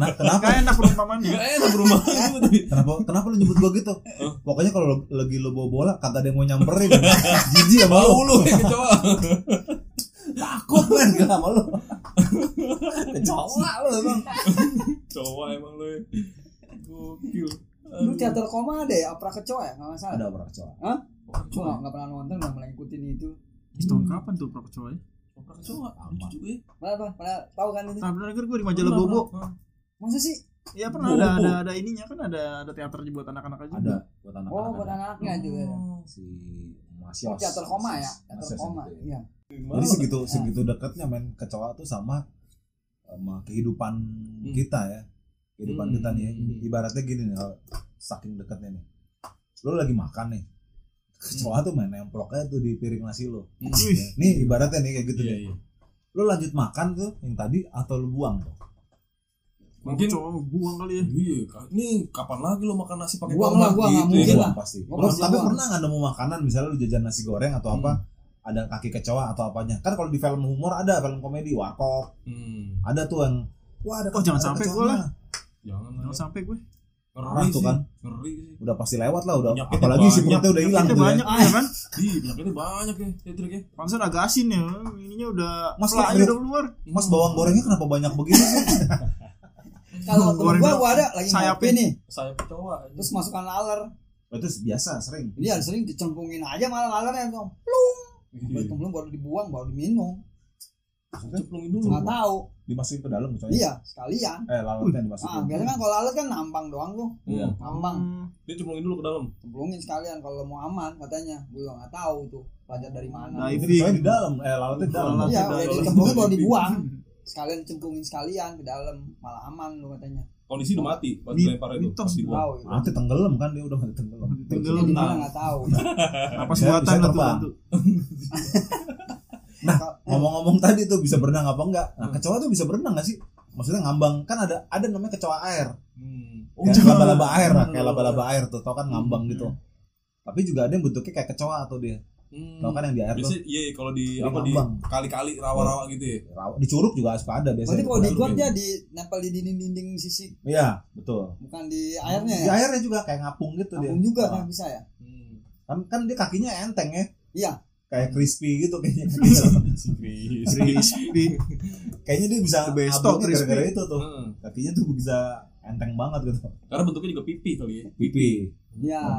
Speaker 4: Nah,
Speaker 1: Pak.
Speaker 4: kenapa?
Speaker 1: Nggak enak perumpamannya
Speaker 3: Enggak enak
Speaker 2: [laughs]
Speaker 3: Gitu. berumah tapi
Speaker 4: Kenapa? Kenapa lu nyebut gua gitu? Pokoknya kalau lu- lagi lu bawa bola, kagak ada yang mau nyamperin. [laughs] Jijik ya
Speaker 3: bau
Speaker 4: bau.
Speaker 3: lu ya, kecoa.
Speaker 4: Takut men gua sama
Speaker 2: [laughs]
Speaker 4: lu. Kecoa lu emang.
Speaker 3: Kecoa emang lu. ya. Gokil.
Speaker 2: Lu teater koma ada ya, opera kecoa ya, nggak masalah.
Speaker 4: Ada orang kecoa.
Speaker 2: Gue nggak nggak pernah nonton, nggak pernah ngikutin itu.
Speaker 1: Terus tahun kapan tuh pra kecoa ya?
Speaker 3: Opera kecoa. Lucu juga ya.
Speaker 2: Mana apa? Mana tahu kan ini?
Speaker 1: Nah bener gue di majalah Bobo
Speaker 2: Masa sih?
Speaker 1: Ya pernah ada,
Speaker 3: Bobo.
Speaker 1: ada, ada ininya kan ada ada teater buat anak-anak aja
Speaker 4: Ada buat anak-anak.
Speaker 2: Oh, buat
Speaker 4: ada.
Speaker 2: anaknya juga. ya.
Speaker 4: Si Mas
Speaker 2: Oh,
Speaker 4: Yos.
Speaker 2: teater koma ya,
Speaker 4: Mas
Speaker 2: teater
Speaker 4: Yos
Speaker 2: koma.
Speaker 4: gitu ya.
Speaker 2: Iya.
Speaker 4: Jadi segitu segitu dekatnya men kecoa tuh sama sama kehidupan kita ya. Kehidupan
Speaker 3: Hmm.
Speaker 4: kita nih ya. Ibaratnya gini nih kalau saking dekatnya nih. Lu lagi makan nih. Kecoa tuh main nemplok aja tuh di piring nasi lu. Iya.
Speaker 1: Wih,
Speaker 4: Nih ibaratnya nih kayak gitu
Speaker 3: Iya,
Speaker 4: nih.
Speaker 3: iya.
Speaker 4: Lu lanjut makan tuh yang tadi atau lu buang tuh?
Speaker 3: Mungkin
Speaker 1: coba buang kali ya
Speaker 3: Iya, Kak. nih kapan lagi lo makan nasi pakai
Speaker 2: Buang lah,
Speaker 3: kolak
Speaker 2: buang, nggak
Speaker 3: gitu
Speaker 2: mungkin
Speaker 3: ya?
Speaker 4: Buang
Speaker 2: lah.
Speaker 4: pasti.
Speaker 2: Gua
Speaker 4: Pernah-
Speaker 2: pasti
Speaker 4: tapi
Speaker 2: buang.
Speaker 4: pernah nggak nemu makanan misalnya lu jajan nasi goreng atau apa ada kaki kecoa atau apanya kan kalau di film humor ada film komedi warkop
Speaker 3: Hmm,
Speaker 4: ada tuh yang wah ada
Speaker 1: Oh, jangan
Speaker 4: ada
Speaker 1: sampai
Speaker 4: kecoa
Speaker 1: gua lah.
Speaker 3: jangan
Speaker 4: mah.
Speaker 3: lah.
Speaker 1: jangan
Speaker 4: Iya.
Speaker 3: ya.
Speaker 1: sampai gue
Speaker 3: Ngeri
Speaker 4: Parah tuh
Speaker 3: sih,
Speaker 4: kan.
Speaker 3: ngeri sih.
Speaker 4: udah pasti lewat lah udah
Speaker 3: Penyakitnya
Speaker 4: apalagi si
Speaker 3: banyak.
Speaker 4: perutnya udah hilang
Speaker 1: Kita
Speaker 4: tuh ya
Speaker 1: banyak ya kan
Speaker 3: Ih, penyakitnya banyak ya, Tetrik ya.
Speaker 1: Pansan agak asin ya ininya udah
Speaker 4: Mas,
Speaker 1: pelangi
Speaker 4: lu-
Speaker 1: udah keluar
Speaker 4: mas bawang gorengnya kenapa banyak begini sih
Speaker 2: Kalau
Speaker 1: Goreng
Speaker 2: temen gua
Speaker 1: dong.
Speaker 2: gua ada lagi
Speaker 1: Sayapnya.
Speaker 2: ngopi nih,
Speaker 3: Hmm. Saya kecoa.
Speaker 2: terus masukkan laler.
Speaker 4: Oh, itu biasa sering
Speaker 2: Ini yang sering dicengkungin aja malah lalernya dong. Baru
Speaker 3: Iya.
Speaker 2: kemblung baru dibuang baru diminum.
Speaker 3: Ceplungin dulu.
Speaker 2: Nggak tahu.
Speaker 4: dimasukin ke dalam kecoa
Speaker 2: Iya, sekalian.
Speaker 4: eh lalatnya dimasukin
Speaker 1: Iya.
Speaker 2: Ah, biasanya kan kalau laler kan nampang doang tuh.
Speaker 3: Iya.
Speaker 2: Nampang.
Speaker 3: Dia ceplungin dulu ke dalam.
Speaker 2: Cemplungin sekalian kalau mau aman katanya. Gua juga nggak tahu tuh pelajar dari mana.
Speaker 1: Nah,
Speaker 4: Itu
Speaker 1: Diving.
Speaker 4: kecoanya di dalam eh lalatnya di dalam
Speaker 1: Lalat.
Speaker 2: Iya,
Speaker 1: Langsung
Speaker 2: udah
Speaker 1: dalam.
Speaker 2: dicemplungin baru dibuang.
Speaker 1: Hmm.
Speaker 2: Sekalian dicemplungin sekalian ke dalam, malah aman lu katanya.
Speaker 3: Kondisi udah mati pas
Speaker 1: Mi-
Speaker 3: dilempar itu,
Speaker 1: mitos
Speaker 3: pas dibuang.
Speaker 2: Tahu itu.
Speaker 4: nanti tenggelam kan dia udah tenggelam
Speaker 1: Tenggelam.
Speaker 2: Jadi di mana nggak
Speaker 1: [laughs]
Speaker 2: tahu.
Speaker 1: napas
Speaker 4: Bisa-
Speaker 1: buatan lah
Speaker 4: bisa
Speaker 1: tuh
Speaker 4: terbang.
Speaker 1: tentu.
Speaker 2: Nah,
Speaker 4: ngomong-ngomong tadi tuh bisa berenang apa enggak nah kecoa tuh bisa berenang gak sih maksudnya ngambang kan ada ada namanya kecoa air
Speaker 3: Hmm. Oh,
Speaker 4: kayak
Speaker 1: jangan.
Speaker 4: laba-laba air lah kayak
Speaker 3: Laba-laba
Speaker 4: laba-laba air tuh tau kan ngambang gitu tapi juga ada yang bentuknya kayak kecoa atau dia
Speaker 3: hmm.
Speaker 4: tau kan yang di air tuh
Speaker 3: Biasanya iya iya, kalau di
Speaker 4: Dia
Speaker 3: apa di
Speaker 4: ngambang.
Speaker 3: kali-kali rawa-rawa gitu ya.
Speaker 4: Rawa- di curug juga suka ada
Speaker 2: Berarti
Speaker 4: biasanya
Speaker 2: kalau di gor
Speaker 3: Masukin.
Speaker 2: dia di nempel di dinding-dinding sisi
Speaker 4: iya betul
Speaker 2: bukan di airnya
Speaker 4: di
Speaker 1: Iya,
Speaker 2: ya.
Speaker 4: airnya juga kayak ngapung gitu
Speaker 2: Kampung
Speaker 4: dia
Speaker 2: juga
Speaker 4: Nah,
Speaker 2: kan bisa ya.
Speaker 3: Hmm.
Speaker 4: kan kan dia kakinya enteng ya
Speaker 2: Iya.
Speaker 4: kayak crispy gitu
Speaker 2: [laughs]
Speaker 4: kayaknya kakinya.
Speaker 3: Si Chris. [laughs]
Speaker 1: crispy
Speaker 4: kayaknya dia bisa
Speaker 1: Besto,
Speaker 4: abangnya
Speaker 1: crispy.
Speaker 4: gara-gara itu tuh
Speaker 3: Heeh.
Speaker 4: kakinya tuh bisa enteng banget gitu
Speaker 3: Hmm. Karena bentuknya juga pipi kali ya.
Speaker 4: pipi
Speaker 2: Iya.
Speaker 1: [laughs]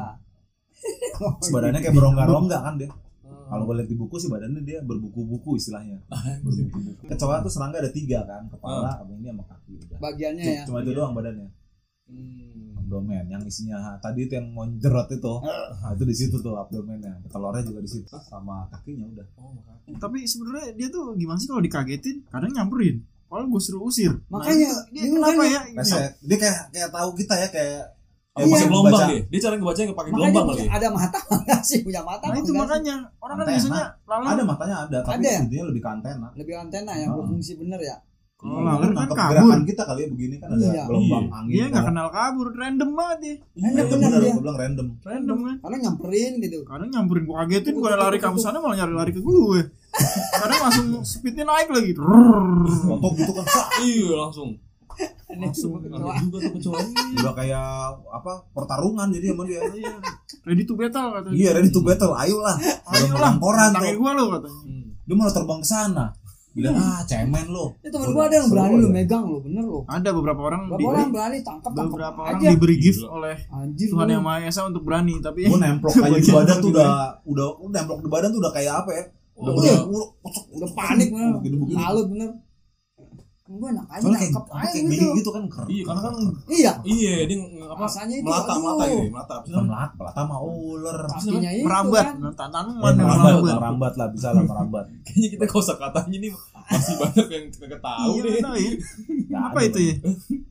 Speaker 2: Oh,
Speaker 4: Terus
Speaker 2: gitu.
Speaker 4: badannya kayak berongga-rongga kan dia
Speaker 3: Hmm.
Speaker 4: kalau gue lihat di buku sih badannya dia berbuku-buku
Speaker 2: [laughs]
Speaker 4: istilahnya
Speaker 2: Ah, iya.
Speaker 4: berbuku-buku kecoa tuh serangga ada tiga kan kepala sama ini sama kaki udah
Speaker 2: Bagiannya
Speaker 4: Cuma-
Speaker 2: ya.
Speaker 4: cuma itu doang badannya
Speaker 3: Hmm.
Speaker 4: abdomen yang isinya ha, tadi itu yang monjerot itu
Speaker 2: Ah.
Speaker 4: Nah, itu di situ tuh abdomennya telurnya juga di situ sama kakinya udah
Speaker 3: Oh, makanya.
Speaker 1: tapi sebenarnya dia tuh gimana sih kalau dikagetin kadang nyamperin kalau gue suruh usir
Speaker 2: Makanya,
Speaker 1: Nah, dia
Speaker 2: dia
Speaker 1: kenapa
Speaker 2: makanya.
Speaker 1: ya
Speaker 4: Reset. dia kayak kayak tahu kita ya kayak
Speaker 3: Oh,
Speaker 4: Iya.
Speaker 3: pakai gelombang
Speaker 4: Baca-
Speaker 3: dia. Dia cara ngebacanya pakai
Speaker 2: Makanya
Speaker 3: gelombang kali ya.
Speaker 2: ada mata [laughs] nggak sih punya mata?
Speaker 1: nah itu
Speaker 2: nggak sih?
Speaker 1: makanya orang kan
Speaker 4: Antena.
Speaker 1: biasanya lalat
Speaker 4: ada matanya ada tapi
Speaker 2: Ada ya?
Speaker 4: intinya lebih ke antena
Speaker 2: lebih antena ya
Speaker 4: Ah.
Speaker 2: berfungsi bener ya.
Speaker 3: Hmm.
Speaker 1: kalau lalat kan
Speaker 4: Nangkep
Speaker 1: kabur
Speaker 4: gerakan kita kali ya begini kan ada
Speaker 2: Iya.
Speaker 4: gelombang
Speaker 3: Nah, Iya.
Speaker 4: angin
Speaker 1: dia nggak
Speaker 4: kan.
Speaker 1: kenal kabur random banget dia
Speaker 2: Iya,
Speaker 4: itu
Speaker 2: bener
Speaker 4: bener
Speaker 2: dia.
Speaker 4: gue bilang random
Speaker 1: random kan
Speaker 2: Karena nyamperin gitu.
Speaker 1: kadang nyamperin gue kagetin gue lari kamu sana malah nyari lari ke gue kadang langsung speednya naik lagi Rrrr.
Speaker 4: Rontok gitu kan sak.
Speaker 3: Iya, langsung.
Speaker 2: Ini
Speaker 1: Langsung
Speaker 2: semua
Speaker 3: Ada
Speaker 2: kecoa.
Speaker 3: juga tuh kecoa.
Speaker 4: udah kayak apa pertarungan jadi sama dia
Speaker 1: Iya. ready to battle katanya
Speaker 4: iya ready to battle ayolah
Speaker 1: ayolah
Speaker 4: koran
Speaker 1: tangi
Speaker 4: tuh
Speaker 1: gue lo katanya
Speaker 3: Hmm.
Speaker 4: dia malah terbang ke sana bilang ah cemen lo
Speaker 2: Itu Ya, temen gua ada yang berani lu megang lu bener lu.
Speaker 1: ada beberapa orang
Speaker 2: Berapa
Speaker 1: di
Speaker 2: orang berani tangkap tangkap
Speaker 1: beberapa orang
Speaker 2: aja.
Speaker 1: diberi gift
Speaker 3: Gila.
Speaker 1: oleh
Speaker 2: Anjir.
Speaker 1: Tuhan
Speaker 2: lu.
Speaker 1: yang Maha Esa untuk berani tapi [laughs]
Speaker 4: gue nemplok aja di
Speaker 1: Bagian
Speaker 4: badan
Speaker 1: tangan
Speaker 4: tuh
Speaker 1: dia.
Speaker 4: udah udah udah nemplok di badan tuh udah kayak apa ya udah
Speaker 3: Oh,
Speaker 4: udah
Speaker 3: iya.
Speaker 4: udah,
Speaker 2: udah panik bener.
Speaker 4: gitu begini
Speaker 2: Lalu bener. Gue enak aja
Speaker 4: soalnya kayak
Speaker 2: tangkap
Speaker 4: kayak
Speaker 2: aja
Speaker 4: geli
Speaker 2: gitu.
Speaker 4: gitu kan keren
Speaker 3: Iya, karena kan
Speaker 2: Iya.
Speaker 3: iya, dia nge- apa?
Speaker 2: Rasanya itu,
Speaker 3: melata,
Speaker 2: aduh.
Speaker 3: melata gitu, ya, melata. Apa sih namanya?
Speaker 4: melat melat sama ular
Speaker 2: Kakinya itu
Speaker 1: merambat
Speaker 2: kan.
Speaker 1: nah, tanaman
Speaker 4: Eh,
Speaker 1: yang
Speaker 4: merambat
Speaker 1: merambat
Speaker 4: merambat lah bisa lah merambat
Speaker 3: Kayaknya kita kosa katanya nih masih banyak yang kita tahu
Speaker 1: iya
Speaker 3: deh.
Speaker 1: nggak tahu ya.
Speaker 4: Nggak
Speaker 1: apa
Speaker 4: ada,
Speaker 1: itu ya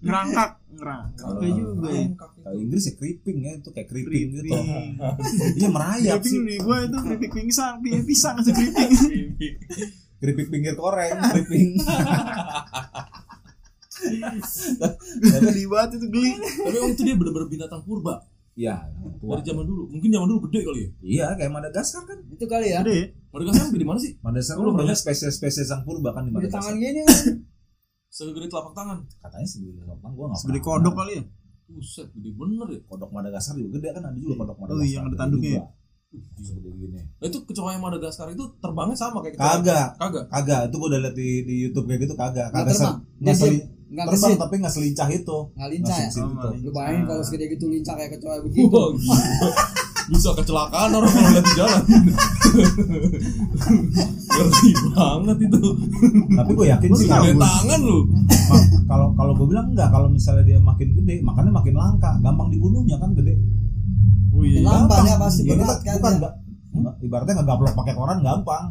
Speaker 1: ngerangkak ngerangkak
Speaker 4: Kalau-
Speaker 1: juga ya
Speaker 4: Kalau Inggris ya creeping ya itu kayak creeping gitu.
Speaker 1: Creeping.
Speaker 4: [laughs] Iya merayap
Speaker 1: Creeping
Speaker 4: sih.
Speaker 1: nih gue itu keripik pisang, pi- pisang itu keripik.
Speaker 4: Keripik pinggir koreng, creeping. [laughs] Tapi-
Speaker 1: Geli banget itu geli.
Speaker 3: Tapi emang itu dia benar-benar binatang purba
Speaker 4: Iya, tua.
Speaker 3: dari zaman dulu. Mungkin zaman dulu gede kali ya.
Speaker 4: Iya, kayak Madagaskar kan.
Speaker 2: Itu kali ya.
Speaker 1: Ada ya?
Speaker 3: Mereka sekarang gede mana sih?
Speaker 4: Madagaskar
Speaker 3: Lu
Speaker 4: lu banyak spesies-spesies yang purba kan di
Speaker 2: Di tangan
Speaker 4: Madagaskar.
Speaker 2: gini.
Speaker 3: Segede telapak tangan.
Speaker 4: Katanya segede lempang gua enggak.
Speaker 1: Segede kodok kali ya?
Speaker 3: Buset, gede bener ya.
Speaker 4: Kodok Madagaskar juga gede kan ada juga kodok
Speaker 1: Oh,
Speaker 4: Madagaskar.
Speaker 1: iya, yang ada
Speaker 4: Gede
Speaker 1: tanduknya
Speaker 4: juga. Uh, Segede gini.
Speaker 3: Nah, itu kecoa yang Madagaskar itu terbangnya sama kayak kecoa.
Speaker 4: Kagak,
Speaker 3: Kagak.
Speaker 4: kagak. Itu gua udah liat di di YouTube kayak gitu kagak.
Speaker 2: Nggak
Speaker 4: Kagak
Speaker 2: terbang.
Speaker 4: ser-
Speaker 2: Dia
Speaker 4: nggak seli-
Speaker 2: Enggak
Speaker 4: terbang
Speaker 2: kesini.
Speaker 4: tapi nggak selincah itu.
Speaker 2: Nggak lincah ya.
Speaker 4: Nggak selincah itu.
Speaker 2: Lu bayangin kalau segede gitu lincah kayak kecoa begitu.
Speaker 3: Wah, gila. Bisa kecelakaan orang kalau lihat di jalan. Ngeri banget itu.
Speaker 4: Tapi gua yakin sih
Speaker 3: Gede
Speaker 4: kalau-
Speaker 3: tangan lu.
Speaker 4: Ma- kalau kalau gue bilang enggak kalau misalnya dia makin gede makannya makin langka gampang dibunuhnya kan gede
Speaker 1: Oh iya.
Speaker 2: Lah. Gampang ya, pasti
Speaker 4: Iya,
Speaker 2: berat
Speaker 4: bukan-
Speaker 2: kan
Speaker 4: bukan
Speaker 2: ya.
Speaker 4: nggak- nggak- ibaratnya nggak gaplok pakai koran gampang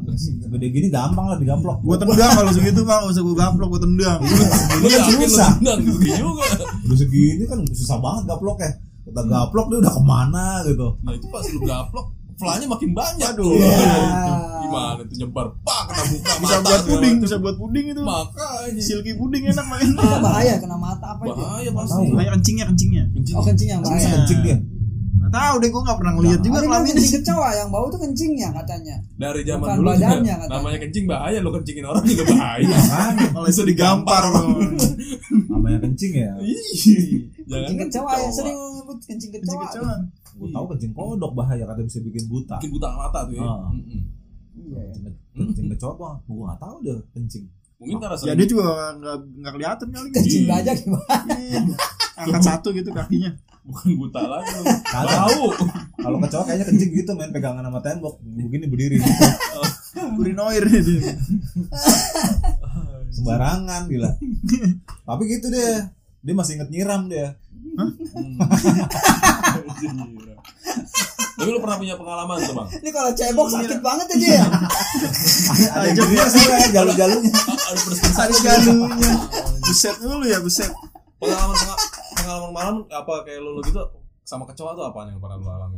Speaker 4: gede gini gampang lah digaplok
Speaker 1: Gue tendang kalau segitu bang, usah gue gaplok, gue tendang.
Speaker 3: Lu
Speaker 4: kan
Speaker 3: yakin lu
Speaker 4: susah.
Speaker 3: tendang gede juga.
Speaker 4: udah segini kan susah banget gaplok ya kita gaplok dia udah kemana gitu
Speaker 3: Nah, itu pas lu gaplok, flanya makin banyak.
Speaker 4: Aduh.
Speaker 2: Ya.
Speaker 3: Gimana gimana itu nyebar pak kena buka
Speaker 1: bisa
Speaker 3: mata
Speaker 1: buat
Speaker 3: segala
Speaker 1: puding
Speaker 3: macam.
Speaker 1: bisa buat puding itu
Speaker 3: makanya
Speaker 1: silky puding enak main
Speaker 2: Itu bahaya kena mata apa itu?
Speaker 3: bahaya Iya.
Speaker 4: Tahu.
Speaker 3: pasti
Speaker 1: kayak kencingnya kencingnya
Speaker 3: Kencing.
Speaker 2: Oh kencing yang
Speaker 4: Bisa
Speaker 2: bahaya.
Speaker 4: kencing dia.
Speaker 1: nggak tahu deh gue nggak pernah ngeliat juga
Speaker 2: Ada bilang
Speaker 1: kelamin
Speaker 2: kencing kecoa yang bau tuh kencingnya katanya.
Speaker 3: dari zaman
Speaker 2: Bukan
Speaker 3: dulu juga,
Speaker 2: badannya, katanya.
Speaker 3: namanya kencing bahaya lo kencingin orang juga
Speaker 4: [laughs]
Speaker 3: bahaya
Speaker 4: Makanya
Speaker 1: malah bisa digampar loh
Speaker 4: namanya kencing ya.
Speaker 3: Ih, jangan
Speaker 2: Kencing kecoa ya
Speaker 3: ketawa.
Speaker 2: sering nyebut kencing
Speaker 1: kencing
Speaker 2: kecoa.
Speaker 1: kecoan
Speaker 4: Gue tahu kencing kodok bahaya katanya bisa bikin buta.
Speaker 3: bikin buta mata tuh ya
Speaker 4: Ah.
Speaker 3: Mm-mm.
Speaker 2: Iya ya.
Speaker 4: Kencing kecoa, gue nggak tahu dia kencing.
Speaker 3: mungkin karena
Speaker 1: ya
Speaker 3: sering
Speaker 1: dia juga nggak nggak kelihatan kali
Speaker 2: Kencing
Speaker 3: Iya.
Speaker 2: baja gimana?
Speaker 1: Iya. angkat satu gitu kakinya
Speaker 3: bukan buta lagi lo
Speaker 4: Kagak.
Speaker 3: tahu
Speaker 4: Kalau kecoa kayaknya kencing gitu main pegangan sama tembok, begini berdiri gitu.
Speaker 1: urinoir dia
Speaker 4: sembarangan gila. Tapi gitu deh. Dia masih inget nyiram dia.
Speaker 3: [laughs] Hmm. Gila. tapi lo pernah punya pengalaman tuh bang
Speaker 2: Ini kalau cebok
Speaker 3: Iya.
Speaker 2: sakit banget aja ya.
Speaker 4: Ada yang gede sih ya jalur-jalurnya.
Speaker 3: ada pedes-pedes.
Speaker 1: ada galunya buset dulu ya buset
Speaker 3: pengalaman pengalaman malam apa kayak lo gitu sama kecoa tuh apaan yang pernah lo alami